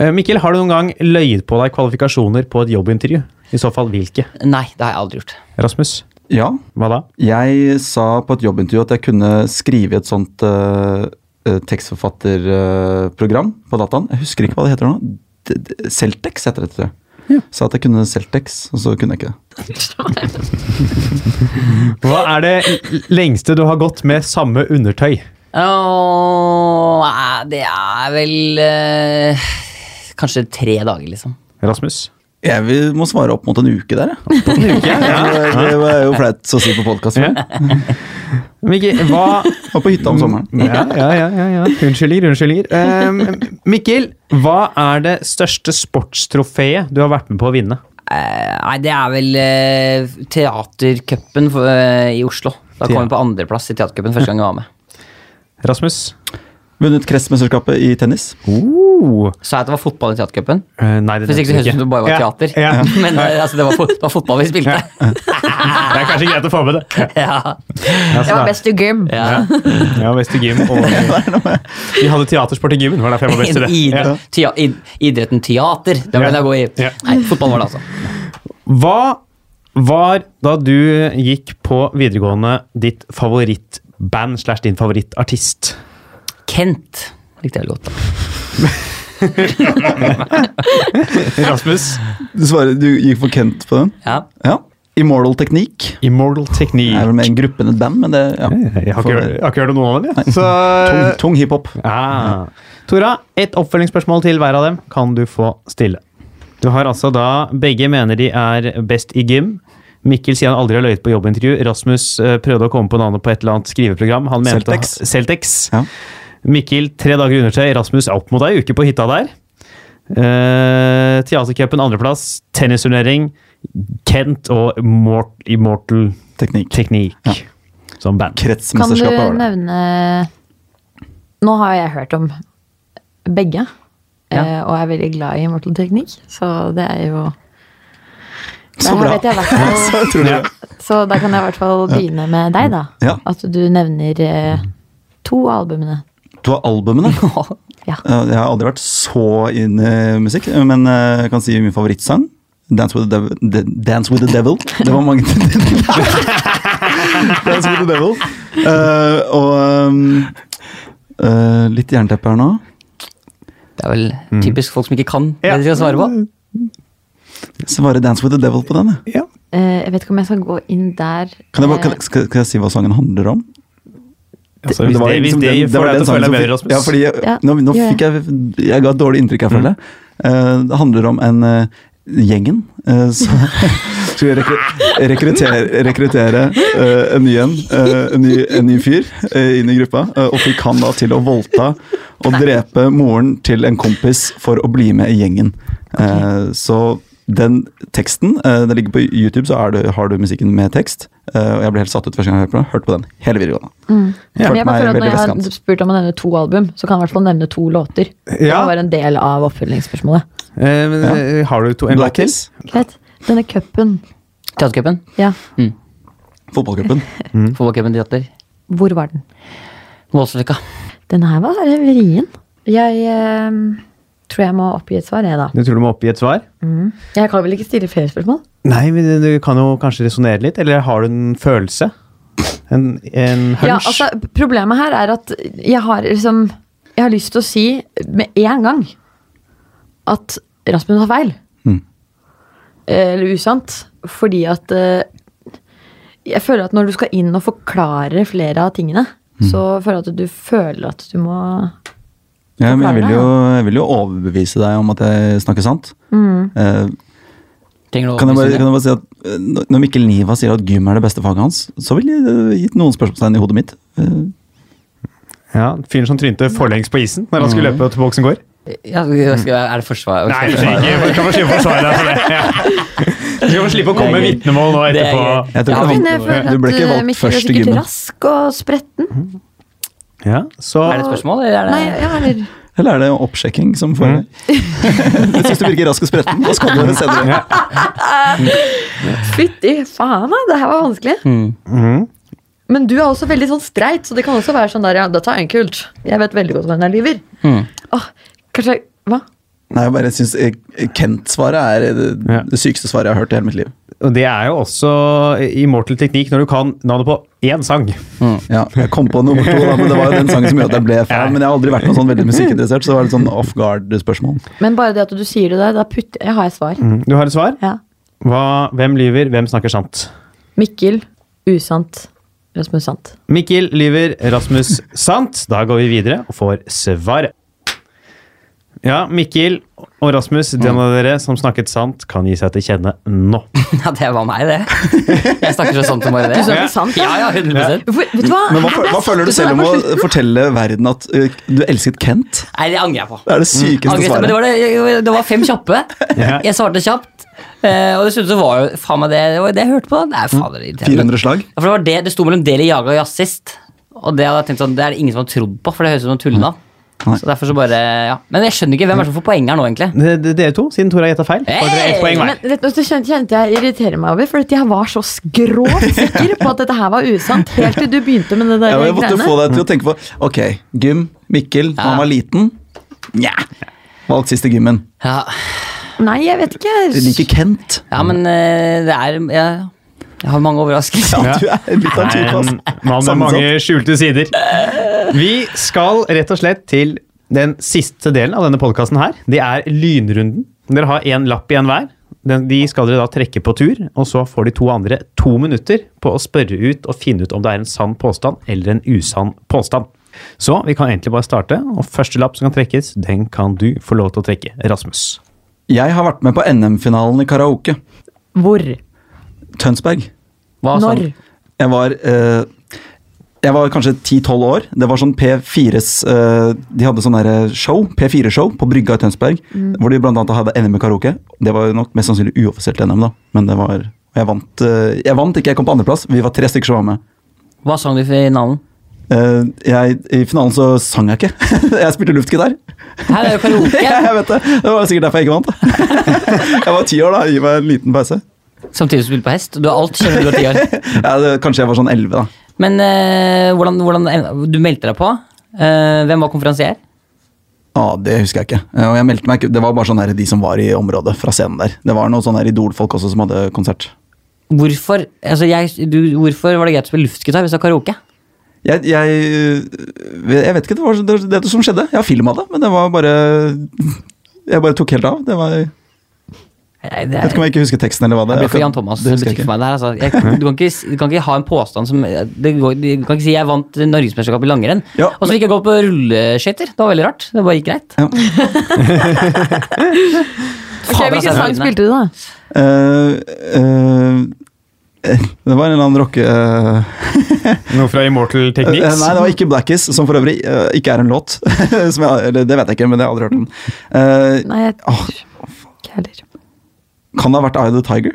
Speaker 5: Eh, Mikkel, har du noen gang løyet på deg kvalifikasjoner på et jobbintervju? I så fall hvilke?
Speaker 3: Nei, det har jeg aldri gjort.
Speaker 5: Rasmus?
Speaker 2: Ja.
Speaker 5: Hva da?
Speaker 2: Jeg sa på et jobbintervju at jeg kunne skrive i et sånt eh, eh, tekstforfatterprogram eh, på dataen. Jeg husker ikke hva det heter nå. D- d- Celtex heter det, tror jeg. Sa at jeg kunne Celtex, og så kunne jeg ikke det.
Speaker 5: Hva er det l- lengste du har gått med samme undertøy?
Speaker 3: Åh, nei, det er vel eh, kanskje tre dager, liksom.
Speaker 5: Rasmus?
Speaker 2: Jeg vil, må svare opp mot en uke (laughs) der, jeg.
Speaker 5: (laughs)
Speaker 2: Det, det var jo flaut å si på podkast.
Speaker 5: Ja. Mikkel, hva
Speaker 2: Og på hytta om sommeren.
Speaker 5: Ja, ja, ja, ja, ja. Unnskyldninger, unnskyldninger. Ehm, Mikkel, hva er det største sportstrofeet du har vært med på å vinne?
Speaker 3: Eh, nei, det er vel uh, teatercupen for- eh, i Oslo. Da kom
Speaker 5: Ja.
Speaker 3: vi på andreplass i teatercupen første gang jeg var med.
Speaker 5: Rasmus?
Speaker 2: Vunnet kretsmesterskapet i tennis.
Speaker 5: Oh.
Speaker 3: Sa jeg at det var fotball i teatercupen?
Speaker 5: Eh, nei, det
Speaker 3: Uh. Hvis ikke så høres det ut som det bare var
Speaker 5: Ja,
Speaker 3: teater.
Speaker 5: Ja.
Speaker 3: (laughs) Men eh, altså, det, var fot det var fotball vi spilte.
Speaker 5: Det er kanskje greit å få med det.
Speaker 3: (laughs) Ja.
Speaker 5: Ja, sånn
Speaker 4: Jeg var
Speaker 5: er det.
Speaker 4: best i gym.
Speaker 3: Ja.
Speaker 5: Ja, best i gym.
Speaker 3: (laughs)
Speaker 5: Og, vi hadde teatersport i gymmen, det var derfor jeg var best i det. Ja.
Speaker 3: Idre- tea- id- Idretten teater, det var
Speaker 5: Ja.
Speaker 3: den jeg god i.
Speaker 5: Ja.
Speaker 3: Nei, fotball var det, altså.
Speaker 5: Hva var, da du gikk på videregående, ditt favorittband slash din favorittartist?
Speaker 3: Kent likte jeg veldig godt. da.
Speaker 5: Rasmus.
Speaker 2: Du, svarer, du gikk for Kent på den?
Speaker 3: (laughs) Ja.
Speaker 2: Ja. Immoral Technique.
Speaker 5: Immortal Technique.
Speaker 2: Det er vel med en gruppe enn et band, men det ja.
Speaker 5: Jeg har,
Speaker 2: Får-
Speaker 5: ikke, hørt- jeg har ikke hørt om noen av dem, jeg. Så
Speaker 2: (laughs) Tung, tung hiphop.
Speaker 5: Ah. Tora, et oppfølgingsspørsmål til hver av dem kan du få stille. Du har altså da Begge mener de er best i gym. Mikkel sier han aldri har løyet på jobbintervju. Rasmus eh, prøvde å komme på navnet på et eller annet skriveprogram. Han mente
Speaker 2: Celtex.
Speaker 5: Celtex.
Speaker 2: Ja.
Speaker 5: Mikkel tre dager undertøy. Rasmus er opp mot ei uke på hytta der. Uh, Teatercupen andreplass. Tennisturnering. Kent og Mort Immortal
Speaker 2: Teknikk.
Speaker 5: Teknikk som band.
Speaker 4: Kan du
Speaker 2: Kretsmesterskapet var (laughs) det.
Speaker 4: nevne Nå har jeg hørt om begge, eh, og er veldig glad i Mortal Teknikk, så det er jo
Speaker 2: Så
Speaker 4: Der
Speaker 2: bra.
Speaker 4: vet jeg i hvert
Speaker 2: (laughs)
Speaker 4: fall-
Speaker 2: Så utrolig bra.
Speaker 4: Så da kan jeg i hvert fall begynne med deg, da.
Speaker 2: Ja.
Speaker 4: At du nevner eh, to av albumene.
Speaker 2: Du har (laughs) albumene.
Speaker 4: Ja.
Speaker 2: Eh, Jeg har aldri vært så inn i musikk, men eh, jeg kan si min favorittsang. Dance with, the devil, De- Dance with the Devil. Det var mange (laughs) Dance with the Devil. Eh, og um, eh, litt jernteppe her nå.
Speaker 3: Det er vel
Speaker 5: Mm.
Speaker 3: typisk folk som ikke kan det de skal svare på.
Speaker 2: Svare Dance with the Devil på den. jeg.
Speaker 5: Ja.
Speaker 4: Eh, jeg vet ikke om jeg skal gå inn der.
Speaker 2: Kan jeg, bare- kan, skal, skal jeg si hva sangen handler om?
Speaker 5: Altså, hvis
Speaker 2: var
Speaker 5: det, hvis
Speaker 2: liksom
Speaker 5: det,
Speaker 2: den-
Speaker 5: får
Speaker 2: var
Speaker 5: deg
Speaker 2: den
Speaker 5: til å føle deg
Speaker 2: sangen som
Speaker 5: bedre,
Speaker 2: fikk-
Speaker 5: Rasmus.
Speaker 2: Ja, fordi jeg,
Speaker 4: Ja,
Speaker 2: nå, nå
Speaker 4: gjør Mm.
Speaker 2: fikk jeg Jeg ga et dårlig inntrykk, jeg føler. Eh, det handler om en eh, gjengen eh, som (laughs) skulle rekru rekruttere, rekruttere eh, en ny en. eh, en, ny, en ny fyr eh, inn i gruppa. eh, og fikk han da til å voldta og drepe moren til en kompis for å bli med i gjengen. Eh, så den teksten eh, Den ligger på YouTube, så er det, har du musikken med tekst. eh, og jeg ble helt satt ut første gang jeg hørte på den. Hørte på den hele videregående.
Speaker 4: Mm. Men
Speaker 2: Følte
Speaker 4: jeg bare
Speaker 2: meg
Speaker 4: føler at Når
Speaker 2: veldig
Speaker 4: jeg
Speaker 2: vestkant.
Speaker 4: har spurt om å nevne to album, så kan jeg i hvert fall nevne to låter. Det
Speaker 5: Ja.
Speaker 4: var en del av oppfølgingsspørsmålet.
Speaker 5: Eh, men, eh, Har du to en låt til?
Speaker 2: Blackies.
Speaker 4: Greit. Denne cupen,
Speaker 3: Teatercupen.
Speaker 4: ja. (laughs)
Speaker 2: Fotballcupen.
Speaker 3: Fotballcupen teater.
Speaker 4: Hvor var den?
Speaker 3: Målstreka.
Speaker 4: Den her var vrien. Jeg eh, tror jeg må oppgi et svar, jeg, da.
Speaker 5: Du tror du må oppgi et svar?
Speaker 4: Jeg kan vel ikke stille flere spørsmål?
Speaker 5: Nei, men du kan jo kanskje resonnere litt. Eller har du en følelse? En, en hunch?
Speaker 4: Ja, altså, problemet her er at jeg har liksom Jeg har lyst til å si med en gang at Rasmus har feil. Eh,
Speaker 2: Mm.
Speaker 4: Eller usant. Fordi at eh, Jeg føler at når du skal inn og forklare flere av tingene,
Speaker 2: Mm.
Speaker 4: så føler jeg at du føler at du må
Speaker 2: Ja, men jeg
Speaker 4: Forklare
Speaker 2: vil, jo, jeg vil jo overbevise deg om at jeg snakker sant.
Speaker 4: Mm.
Speaker 2: Eh,
Speaker 3: Trenger du å
Speaker 2: kan, jeg bare, kan
Speaker 3: opplyse det?
Speaker 2: jeg bare si at eh, når- Når Mikkel Niva sier at gym er det beste faget hans, så vil jeg eh, gitt noen spørsmålstegn i hodet mitt. Eh,
Speaker 5: ja, Fyren som trynte forlengs på isen når han skulle løpe til boksen går?
Speaker 3: Ja, skal jeg- er det forsvar?
Speaker 5: Nei, det skjer Mm. ikke. Du kan få slippe å svare altså. (laughs) deg for det. Du kan få slippe å komme med vitnemål nå
Speaker 3: Det er
Speaker 5: etterpå.
Speaker 3: greit.
Speaker 2: jeg tror
Speaker 3: Ja,
Speaker 2: ikke han-
Speaker 4: Men jeg føler
Speaker 2: du ble ikke
Speaker 4: at eh,
Speaker 2: valgt
Speaker 4: Mikkel er
Speaker 2: først i
Speaker 4: sikkert
Speaker 2: gymmen.
Speaker 4: rask og spretten.
Speaker 5: Ja, så
Speaker 3: Er det et spørsmål, eller er det
Speaker 4: Nei, ja, eller
Speaker 2: Eller er det oppsjekking som
Speaker 4: Mm.
Speaker 2: får (laughs) Jeg syns du virker rask og spretten. Da skal du høre senere.
Speaker 4: Fytti faen, da. Det her var vanskelig.
Speaker 2: Mm-hmm.
Speaker 4: Men du er også veldig sånn streit, så det kan også være sånn der ja, dette er kult. Jeg vet veldig godt hvem jeg lyver. Åh, kanskje jeg- Hva?
Speaker 2: Nei, jeg bare syns eh, Kent-svaret er eh, det,
Speaker 5: Ja.
Speaker 2: det sykeste svaret jeg har hørt i hele mitt liv.
Speaker 5: Og det er jo også immortal teknikk når du kan navnet på én sang.
Speaker 2: Ja, jeg kom på nummer to, da, men det var jo den sangen som gjorde at jeg ble fan. Men jeg har aldri vært noe sånn veldig musikkinteressert, så det var litt sånn off guard-spørsmål.
Speaker 4: Men bare det at du sier det der, da putter jeg har jeg svar.
Speaker 2: Mm-hmm.
Speaker 5: Du har et svar?
Speaker 4: Ja.
Speaker 5: Hva, hvem lyver, hvem snakker sant?
Speaker 4: Mikkel usant. Rasmus sant.
Speaker 5: Mikkel lyver, Rasmus sant. Da går vi videre og får svaret. Ja, Mikkel og Rasmus, den av dere som snakket sant, kan gi seg til kjenne nå.
Speaker 3: (laughs) Ja, det var meg, det. Jeg snakker så sant som bare det.
Speaker 4: Du snakker sant, da?
Speaker 3: Ja, ja, 100
Speaker 4: Hvor, vet du hva?
Speaker 2: Men hva, føl- hva føler du selv om å fortelle verden at ø, du elsket Kent?
Speaker 3: Nei, det angrer jeg på.
Speaker 2: Det er det
Speaker 4: Mm.
Speaker 2: sykeste
Speaker 3: Angrer jeg på, men
Speaker 2: svaret.
Speaker 3: det, var det, det var fem kjappe.
Speaker 5: Ja.
Speaker 3: Jeg svarte kjapt. eh, Og dessuten så var jo faen meg det, det, var jo det jeg hørte på. Det er faen det er irriterende.
Speaker 2: 400 slag.
Speaker 3: Ja, for det, var det, det sto mellom Deli Jaga og Jazzist. Og det hadde jeg tenkt sånn, det er det ingen som har trodd på, for det høres ut som noen tullenavn.
Speaker 2: Nei.
Speaker 3: Så derfor så bare, ja. Men jeg skjønner ikke hvem er det som får poeng her nå, egentlig.
Speaker 5: D- d- Dere to, siden Tora gjetta feil, får dere ett
Speaker 3: Hey!
Speaker 5: poeng hver.
Speaker 4: Men dette dette kjente, kjente jeg irriterer meg over, for at jeg var så skråt sikker på at dette her var usant, helt til du begynte med det der
Speaker 2: Ja, men jeg måtte
Speaker 4: greiene.
Speaker 2: få deg til å tenke på Ok, gym, Mikkel, da han var liten Nja. Valgt sist i gymmen.
Speaker 3: Ja,
Speaker 4: Nei, jeg vet ikke.
Speaker 2: Liker Kent.
Speaker 3: ja men eh, det er ja. Jeg har mange overraskelser.
Speaker 5: Ja.
Speaker 2: Du er litt av
Speaker 5: Nei,
Speaker 2: typen,
Speaker 5: en mann med
Speaker 2: Sammensatt.
Speaker 5: mange skjulte sider. Vi skal rett og slett til den siste delen av denne podkasten her. Det er lynrunden. Dere har én lapp igjen hver. Den, de skal dere da trekke på tur, og så får de to andre to minutter på å spørre ut og finne ut om det er en sann påstand eller en usann påstand. Så vi kan egentlig bare starte, og første lapp som kan trekkes, den kan du få lov til å trekke, Rasmus.
Speaker 2: Jeg har vært med på NM-finalen i karaoke.
Speaker 4: Hvor?
Speaker 2: Tønsberg.
Speaker 3: Hva sa
Speaker 4: Når?
Speaker 3: han?
Speaker 2: Jeg var, eh, jeg var kanskje 10-12 år. Det var sånn P4s eh, De hadde sånn der show, P4-show på Brygga i Tønsberg. Hvor de blant annet hadde NM i karaoke. Det var jo nok mest sannsynlig uoffisielt NM, da. Men det var og jeg vant, eh, jeg vant ikke, jeg kom på andreplass. Vi var tre stykker som var med.
Speaker 3: Hva sang du i finalen?
Speaker 2: Eh, jeg, I finalen så sang jeg ikke. (laughs) jeg spilte luftgitar.
Speaker 3: Her er jo
Speaker 2: (laughs) jeg
Speaker 3: karaoke!
Speaker 2: vet det. Det var sikkert derfor jeg ikke vant. (laughs) jeg var ti år da. Gi meg en liten pause.
Speaker 3: Samtidig som du spiller på hest. Du har alt kjenner du har ti år.
Speaker 2: Ja, det, kanskje jeg var sånn elleve, da.
Speaker 3: Men eh, hvordan, hvordan Du meldte deg på. Eh, hvem var konferansier?
Speaker 2: Ja, det husker jeg ikke. Eh, Og jeg meldte meg ikke. Det var bare sånn her, de som var i området fra scenen der. Det var noen sånne her idolfolk også som hadde konsert.
Speaker 3: Hvorfor, altså jeg, du, hvorfor var det greit å spille luftgitar hvis det var karaoke?
Speaker 2: Jeg, jeg, øh, jeg vet ikke, det var så- det, var det som skjedde. Jeg har filma det, men det var bare Jeg bare tok helt av. Det var, jeg
Speaker 3: Nei, det
Speaker 2: vet ikke om jeg ikke husker teksten eller hva det
Speaker 3: Det
Speaker 2: er.
Speaker 3: blir for Jan Thomas
Speaker 2: Det husker jeg
Speaker 3: butikk for meg. Der, altså. jeg, du, kan ikke, s- du kan ikke ha en påstand som det går, Du kan ikke si 'jeg vant norgesmesterskapet i langrenn',
Speaker 2: Ja,
Speaker 3: og så fikk jeg gå på rulleskøyter. Det var veldig rart. Det bare gikk greit.
Speaker 2: Ja.
Speaker 4: Ok,
Speaker 3: Fader, altså,
Speaker 4: Hvilken sang
Speaker 3: jeg er
Speaker 4: spilte du, da?
Speaker 2: Eh, eh, det var en eller annen rocke... eh,
Speaker 5: Noe fra Immortal
Speaker 2: Eh, Nei, det var ikke Blackies, som for øvrig eh, ikke er en låt. (laughs) som jeg, eller, det vet jeg ikke, men jeg har aldri hørt den. Eh,
Speaker 4: Nei, jeg
Speaker 2: Åh.
Speaker 4: ikke heller.
Speaker 2: kan det ha vært Eye of the Tiger?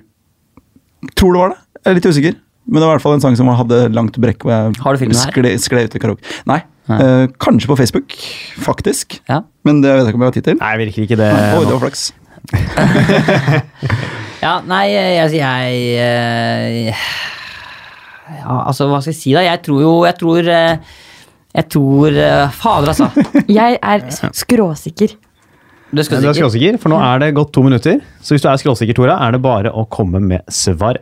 Speaker 2: Tror det var det. Jeg er litt usikker. Men det var i hvert fall en sang som hadde langt brekk. Hvor jeg
Speaker 3: Har du filmen her?
Speaker 2: Skle, skle ut i karaoke. Nei.
Speaker 3: Nei.
Speaker 2: eh, kanskje på Facebook, faktisk.
Speaker 3: Ja.
Speaker 2: Men det vet jeg ikke om jeg har tid til.
Speaker 5: Nei, virker ikke det.
Speaker 2: Oi, det
Speaker 5: nå.
Speaker 2: var flaks.
Speaker 3: Ja, nei, jeg, jeg eh, ja, Altså, hva skal jeg si, da? Jeg tror jo Jeg tror eh, Jeg tror eh, Fader, altså.
Speaker 5: (laughs)
Speaker 4: Jeg er s- skråsikker.
Speaker 5: Ja, Du
Speaker 3: Du er
Speaker 5: er
Speaker 3: skråsikker.
Speaker 5: skråsikker, for nå er det gått to minutter. Så hvis du er skråsikker, Tora, er det bare å komme med svar.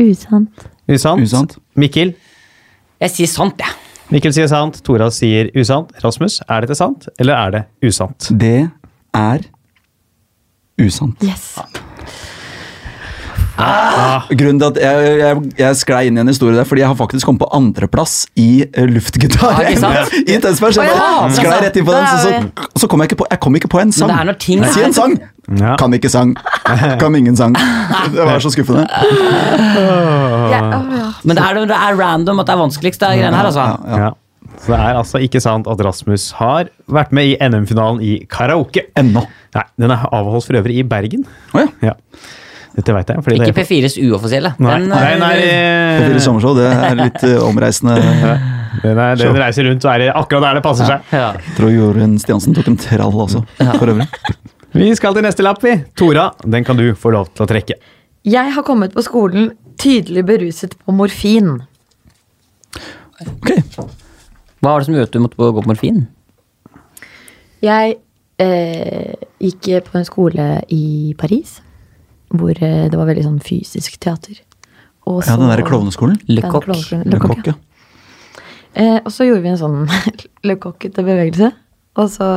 Speaker 4: Usant.
Speaker 5: Usant.
Speaker 2: Usant.
Speaker 5: Mikkel.
Speaker 3: Jeg sier sant, jeg.
Speaker 5: Mikkel sier sant, Tora sier usant. Rasmus, er dette sant, eller er det usant?
Speaker 2: Det er usant.
Speaker 4: Yes.
Speaker 2: Grunnen til at jeg, jeg, jeg sklei inn i en historie der, fordi jeg har faktisk kommet på andreplass i eh, luftgitar.
Speaker 3: Ja, ikke sant?
Speaker 2: (laughs) I Tønsberg. Så jeg
Speaker 4: Å, ja,
Speaker 2: bare
Speaker 4: altså.
Speaker 2: sklei rett inn på den,
Speaker 4: Der er
Speaker 2: så, så, så kom jeg ikke på Jeg kom ikke på en sang.
Speaker 3: det er når ting
Speaker 2: si
Speaker 3: er-
Speaker 2: en sang!
Speaker 5: Ja.
Speaker 2: Kan ikke sang. Kan ingen
Speaker 3: (laughs)
Speaker 2: sang. Det var så skuffende.
Speaker 4: Jeg, åh, ja.
Speaker 3: Men det er, det er random at det er vanskeligst, det greiene her, altså.
Speaker 2: Ja, ja.
Speaker 5: Ja. Så det er altså ikke sant at Rasmus har vært med i NM-finalen i karaoke.
Speaker 2: Ennå.
Speaker 5: Nei, den er avholdt for øvrig i Bergen.
Speaker 2: Å ja.
Speaker 5: Ja. Dette veit jeg. Fordi
Speaker 3: Ikke
Speaker 5: det,
Speaker 3: P4s uoffisielle.
Speaker 5: nei,
Speaker 3: Den,
Speaker 5: nei,
Speaker 3: eh,
Speaker 5: nei,
Speaker 2: Det sånn. blir
Speaker 5: eh,
Speaker 2: sommershow, det er litt eh, omreisende.
Speaker 5: den, er, den reiser rundt og er det akkurat der det passer seg.
Speaker 3: Ja.
Speaker 2: Jeg tror Jorunn Stiansen tok en trall også, for øvrig.
Speaker 5: Vi skal til neste lapp, vi. Tora, den kan du få lov til å trekke.
Speaker 4: jeg har kommet på skolen tydelig beruset på morfin.
Speaker 2: Ok.
Speaker 3: Hva var det som gjorde at du måtte gå på morfin?
Speaker 4: Jeg eh, gikk på en skole i Paris, hvor eh, det var veldig sånn fysisk teater. Og
Speaker 2: Ja,
Speaker 4: så-
Speaker 2: den derre klovneskolen.
Speaker 3: Le
Speaker 4: Den
Speaker 3: Coq.
Speaker 4: klovneskolen. Le
Speaker 2: Med
Speaker 4: Coq, ja.
Speaker 2: kokke.
Speaker 4: Eh, og så gjorde vi en sånn (laughs) lekokkete bevegelse. Og så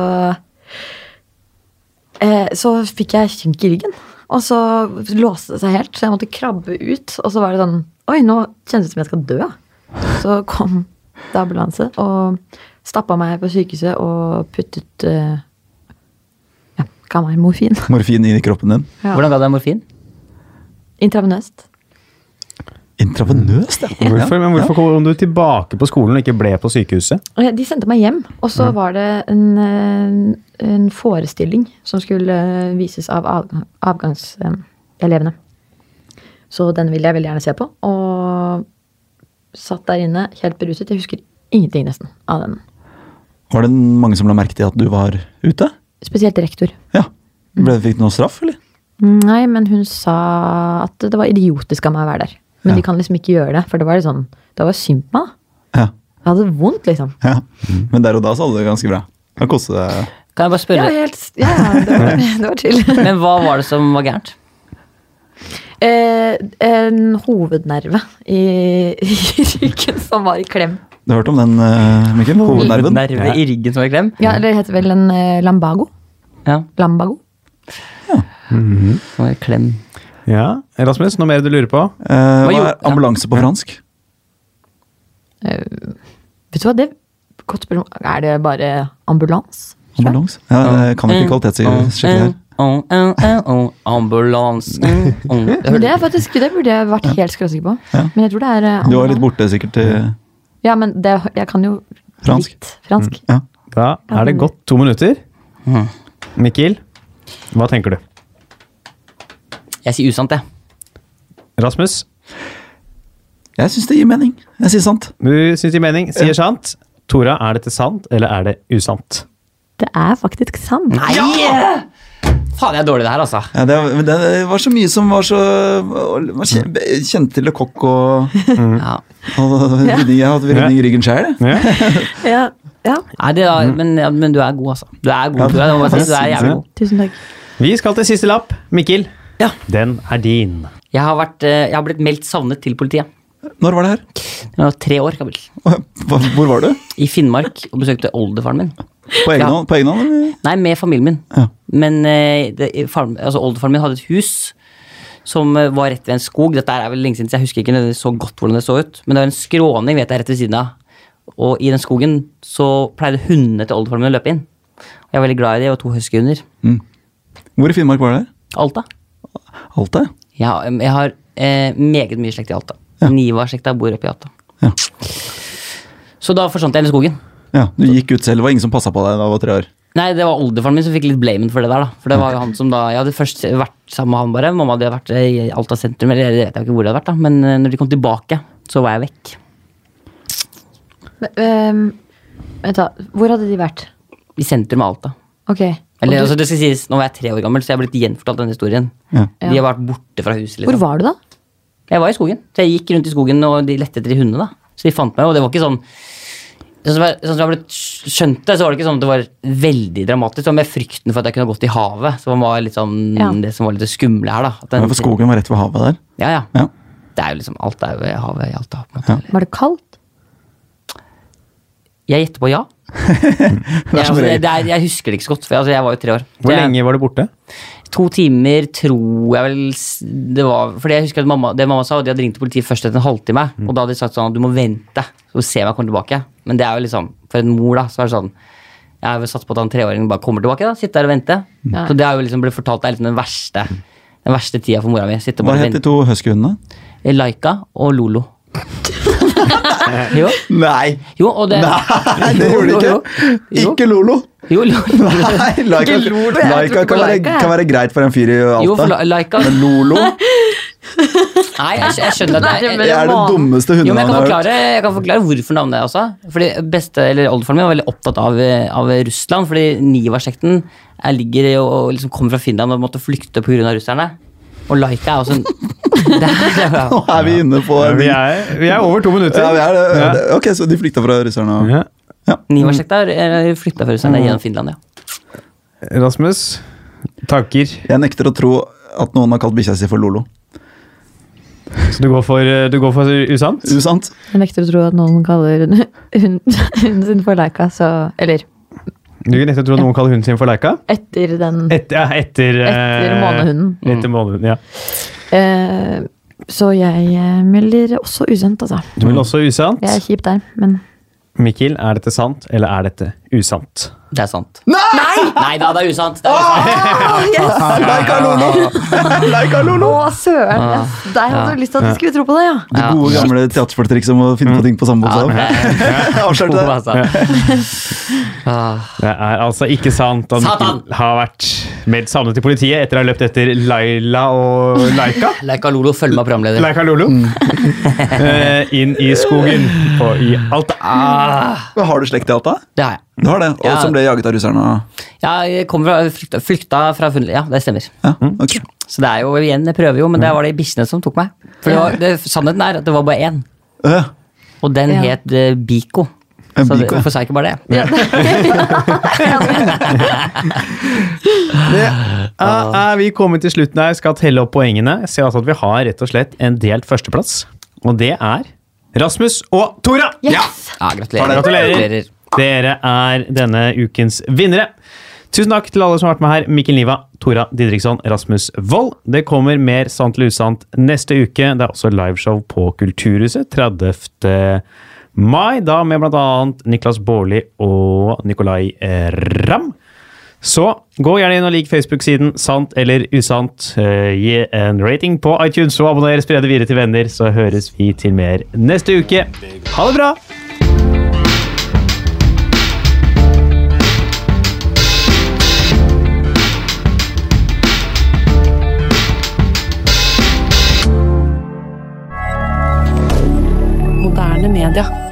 Speaker 4: eh, Så fikk jeg kink i ryggen. Og så låste det seg helt, så jeg måtte krabbe ut. Og så var det sånn Oi, nå kjennes det ut som jeg skal dø. Så kom det ambulanse og stappa meg på sykehuset og puttet eh, Ja, ga meg morfin. (laughs)
Speaker 2: Morfin i kroppen din.
Speaker 4: Ja.
Speaker 3: Hvordan ga det deg morfin?
Speaker 4: Intravenøst.
Speaker 2: Intravenøst, ja.
Speaker 5: Hvorfor,
Speaker 2: Ja,
Speaker 5: men
Speaker 2: ja.
Speaker 5: hvorfor kom du tilbake på skolen og ikke ble på sykehuset?
Speaker 4: Og jeg- De sendte meg hjem, og så var det en, eh, en forestilling som skulle eh, vises av avg- avgangselevene. Så den ville jeg veldig gjerne se på, og satt der inne helt beruset. Jeg husker ingenting nesten av den.
Speaker 2: Var det mange som la merke til at du var ute?
Speaker 4: Spesielt rektor.
Speaker 2: Ja. Ble, fikk du noe straff, eller?
Speaker 4: Nei, men hun sa at det var idiotisk av meg å være der. Men de kan liksom ikke gjøre det, for det var litt sånn, det var synd på meg. da.
Speaker 2: Ja.
Speaker 4: Jeg hadde det vondt, liksom.
Speaker 2: ja. Men der og da så hadde du det ganske bra. Det koste deg
Speaker 3: Kan jeg bare
Speaker 4: Ja,
Speaker 3: spørre,
Speaker 4: (laughs) helt, ja, ja, det var, det var chill.
Speaker 3: men hva var det som var gærent?
Speaker 4: eh, en hovednerve i, i ryggen som var i klem.
Speaker 2: Du har hørt om den, eh, Mikkel? Hovednerven?
Speaker 3: Nerve i ryggen som er klem.
Speaker 4: Ja, eller det heter vel en eh, lambago?
Speaker 3: Ja,
Speaker 4: Lambago?
Speaker 3: som er klem.
Speaker 5: Ja. Rasmus, noe mer du lurer på?
Speaker 2: Eh, hva
Speaker 3: Hva
Speaker 2: er
Speaker 3: gjorde- ja.
Speaker 2: ambulanse på fransk?
Speaker 4: Vet du hva, det godt spørsmål. Er det bare ambulans?
Speaker 2: Ambulans? Ja, det Eh, kan
Speaker 3: Mm.
Speaker 2: ikke kvalitetssjekke det her.
Speaker 3: Oh, oh, oh, oh,
Speaker 2: (laughs)
Speaker 3: Ambulans. Mm,
Speaker 4: Men
Speaker 3: mm. Jeg hørte-
Speaker 4: det, er faktisk, det burde jeg vært helt skråsikker på.
Speaker 2: Ja.
Speaker 4: Men jeg tror det er eh,
Speaker 2: Du var
Speaker 4: ambulans.
Speaker 2: litt borte sikkert eh. i
Speaker 4: Ja, men det, jeg kan jo
Speaker 2: Fransk. Mm.
Speaker 4: litt fransk.
Speaker 2: ja.
Speaker 5: Da er det gått to minutter. Mikkel, hva tenker du?
Speaker 3: Jeg sier usant, jeg.
Speaker 5: Rasmus,
Speaker 2: Jeg syns det gir mening. Jeg sier sant.
Speaker 5: du syns det gir mening, sier sant. Tora, er dette sant, eller er det usant?
Speaker 4: Det er faktisk sant.
Speaker 3: Nei! Faen, jeg er dårlig i det her, altså.
Speaker 2: Ja, det, men det var så mye som var så var kje- Kjente til Le Coq og,
Speaker 3: Ja.
Speaker 2: og rydning. Jeg har hatt rydning i ryggen sjøl, jeg.
Speaker 5: Ja.
Speaker 4: Ja, ja.
Speaker 3: Nei, det er,
Speaker 2: Mm.
Speaker 3: men, ja, men du er god, altså. Du er god. Du er, jeg må bare si, du er jævlig god.
Speaker 4: Tusen takk.
Speaker 5: Vi skal til siste lapp. Mikkel,
Speaker 3: Ja.
Speaker 5: den er din.
Speaker 3: Jeg har, vært, eh, jeg har blitt meldt savnet til politiet.
Speaker 2: Når var det her?
Speaker 3: Jeg var tre år gammel.
Speaker 2: Hva- Hvor var du?
Speaker 3: I Finnmark og besøkte oldefaren min.
Speaker 2: På egen
Speaker 3: Ja.
Speaker 2: hånd? På egen hånd eller?
Speaker 3: Nei, med familien min.
Speaker 2: Ja.
Speaker 3: Men eh, det, faren, altså, oldefaren min hadde et hus som eh, var rett ved en skog. Dette er vel lenge siden, så jeg husker ikke nødvendigvis så godt hvordan det så ut. Men det var en skråning vet jeg, rett ved siden av. Og i den skogen så pleide hundene til oldefaren min å løpe inn. Og jeg var veldig glad i dem. Jeg var to huskyhunder.
Speaker 2: Hvor i Finnmark var det her?
Speaker 3: Alta.
Speaker 2: Alta?
Speaker 3: Jeg, har- jeg har eh, meget mye slekt i Alta. Niva-slekta bor oppe i Alta.
Speaker 2: Ja.
Speaker 3: Så da forsvant jeg inn i skogen.
Speaker 2: ja. Du gikk ut selv, det var ingen som passa på deg da du var tre år?
Speaker 3: Nei, det var oldefaren min som fikk litt blamen for det der, da. For det var jo han som da Jeg hadde først vært sammen med han bare. Mamma hadde vært eh, i Alta sentrum, eller jeg vet ikke hvor det hadde vært, da. Men eh, når de kom tilbake, så var jeg vekk.
Speaker 4: Men, ehm, vent da, hvor hadde de vært?
Speaker 3: I sentrum av Alta.
Speaker 4: Ok. og
Speaker 3: Eller
Speaker 4: du,
Speaker 3: altså, det skal sies, nå var jeg tre år gammel, så jeg har blitt gjenfortalt denne historien.
Speaker 2: Ja.
Speaker 3: De har vært borte fra huset,
Speaker 4: hvor
Speaker 3: liksom.
Speaker 4: var du da?
Speaker 3: Jeg var i skogen. Så jeg gikk rundt i skogen, og de lette etter de hundene, da. Så de fant meg, og det var ikke sånn Sånn som jeg, sånn som jeg har blitt skjønt det, så var det ikke sånn at det var veldig dramatisk. Det var mer frykten for at jeg kunne gått i havet, som var litt sånn
Speaker 4: Ja.
Speaker 3: det som var litt det skumle her, da. At den-
Speaker 2: Ja, for skogen var rett ved havet der?
Speaker 3: Ja, ja.
Speaker 2: Ja.
Speaker 3: Det er jo liksom alt er jo i havet i Alta. på en måte.
Speaker 4: Var det kaldt?
Speaker 3: Jeg gjetter på ja. jeg, altså, det, det er, jeg husker det ikke så godt, for jeg, altså, jeg var jo tre år.
Speaker 5: Hvor
Speaker 3: Det er
Speaker 5: lenge var du borte?
Speaker 3: To timer tror jeg vel s- det var Fordi jeg husker at mamma, det mamma sa, og de hadde ringt politiet først etter en halvtime. Og da hadde de sagt sånn at du må vente, så se om jeg kommer tilbake. Men det er jo liksom, for en mor, da, så er det sånn Jeg har jo satset på at han treåringen bare kommer tilbake. da, Sitte der og vente.
Speaker 4: Ja.
Speaker 3: Så det har jo liksom blitt fortalt det er liksom den verste Den verste tida for mora mi. Sitte og
Speaker 2: Hva
Speaker 3: bare
Speaker 2: het de
Speaker 3: vente.
Speaker 2: to huskyhundene?
Speaker 3: Laika og Lolo. jo.
Speaker 2: Nei!
Speaker 3: Jo, og det
Speaker 2: Nei, det
Speaker 3: Jo,
Speaker 2: gjorde de
Speaker 3: jo,
Speaker 2: ikke!
Speaker 3: jo.
Speaker 2: Ikke Lolo!
Speaker 3: Jo, jo, jo.
Speaker 2: Nei, Laika,
Speaker 4: Ikke Lolo, jeg tror
Speaker 2: Laika
Speaker 4: ikke på
Speaker 2: kan, være,
Speaker 4: Laika, jeg.
Speaker 2: kan være greit for en fyr i Alta.
Speaker 3: Jo, for La- Laika
Speaker 2: Men
Speaker 3: (laughs)
Speaker 2: Lolo
Speaker 3: Nei, jeg, skj- jeg skjønner at det
Speaker 4: Nei,
Speaker 3: er
Speaker 2: det er det
Speaker 4: Mannen.
Speaker 2: dummeste
Speaker 3: jo, men jeg,
Speaker 2: hundenavnet
Speaker 3: kan
Speaker 2: jeg har hørt.
Speaker 3: forklare, jeg kan forklare hvorfor navnet er også. Fordi beste, eller Oldefaren min var veldig opptatt av, eh, av Russland. Fordi Niva-slekten er- ligger i- og, og liksom kommer fra Finland og måtte flykte pga. russerne. Og Laika er også en (laughs) Der, ja.
Speaker 2: Nå er vi inne på
Speaker 5: Vi er, vi er over to minutter.
Speaker 2: Ja, vi er det. Ok, så de flykta fra russerne og
Speaker 5: Ja.
Speaker 3: Niva-slekta er- er flykta fra russerne
Speaker 2: Mm.
Speaker 3: gjennom Finland, ja.
Speaker 5: Rasmus, tanker?
Speaker 2: Jeg nekter å tro at noen har kalt bikkja si for Lolo.
Speaker 5: Så du går for, eh, du går for usant?
Speaker 2: Usant.
Speaker 4: Jeg nekter å tro at noen kaller hunden hunden sin for Laika, så Eller
Speaker 5: Du nekter å tro at noen kaller hunden sin for Leika?
Speaker 4: etter den
Speaker 5: Et, ja, etter
Speaker 4: Etter
Speaker 5: eh,
Speaker 4: månehunden.
Speaker 5: Etter månehunden, ja.
Speaker 4: eh, Så jeg eh, melder også usent, altså.
Speaker 5: Du vil også usant.
Speaker 4: Jeg er kjip der, men
Speaker 5: Mikkel, er dette sant, eller er dette usant?
Speaker 3: Det er sant. Nei! Nei da, det er usant. Det er usant.
Speaker 2: Ah, Leika Lolo! Leika Lolo!
Speaker 4: Å, søren! Jeg- Der hadde du lyst til at du skulle tro på det, ja.
Speaker 2: Det gode gamle teaterfolktrikset om å finne på ting på samme
Speaker 3: Ja,
Speaker 2: bokstav. Avslørte
Speaker 3: Koko,
Speaker 2: det.
Speaker 3: altså. Ah.
Speaker 5: Det er altså ikke sant at
Speaker 3: Satan!
Speaker 5: Mikkel har vært meldt savnet til politiet etter å ha løpt etter Laila og Laika.
Speaker 3: Laika Lolo, følg med programleder.
Speaker 5: Leika Lolo. (laughs) Eh, inn i skogen på i Alta.
Speaker 2: Men Har du slekt i Alta?
Speaker 3: Det har jeg.
Speaker 2: Du har det, og
Speaker 3: Ja.
Speaker 2: som ble jaget av russerne. og-
Speaker 3: Jeg kom fra, flykta, flykta fra Funn... Ja, det stemmer.
Speaker 2: Ja, ok.
Speaker 3: Så det er jo igjen, jeg prøver jo, men
Speaker 2: Mm.
Speaker 3: det var det bikkjene som tok meg. For det var, det, sannheten er at det var bare én,
Speaker 2: Øh,
Speaker 3: og den
Speaker 4: Ja.
Speaker 3: het eh, Biko.
Speaker 2: En
Speaker 3: Så det-
Speaker 2: biko.
Speaker 3: hvorfor sa jeg ikke bare det?
Speaker 5: Ja, eh, vi kommer til slutten her, skal telle opp poengene. Jeg ser altså at vi har rett og slett en delt førsteplass, og det er Rasmus og Tora!
Speaker 4: Yes!
Speaker 3: Ja, gratulerer.
Speaker 5: Gratulerer. Dere er denne ukens vinnere. Tusen takk til alle som har vært med her. Mikkel Niva, Tora Didriksson, Rasmus Wold. Det kommer mer Sant eller usant neste uke. Det er også liveshow på Kulturhuset 30. mai, da med bl.a. Niklas Baarli og Nicolay eh, Ramm. Så gå gjerne inn og lik Facebook-siden Sant eller usant. Eh, Gi en rating på iTunes og abonner. Spre det videre til venner, så høres vi til mer neste uke. Ha det bra!
Speaker 6: Moderne media.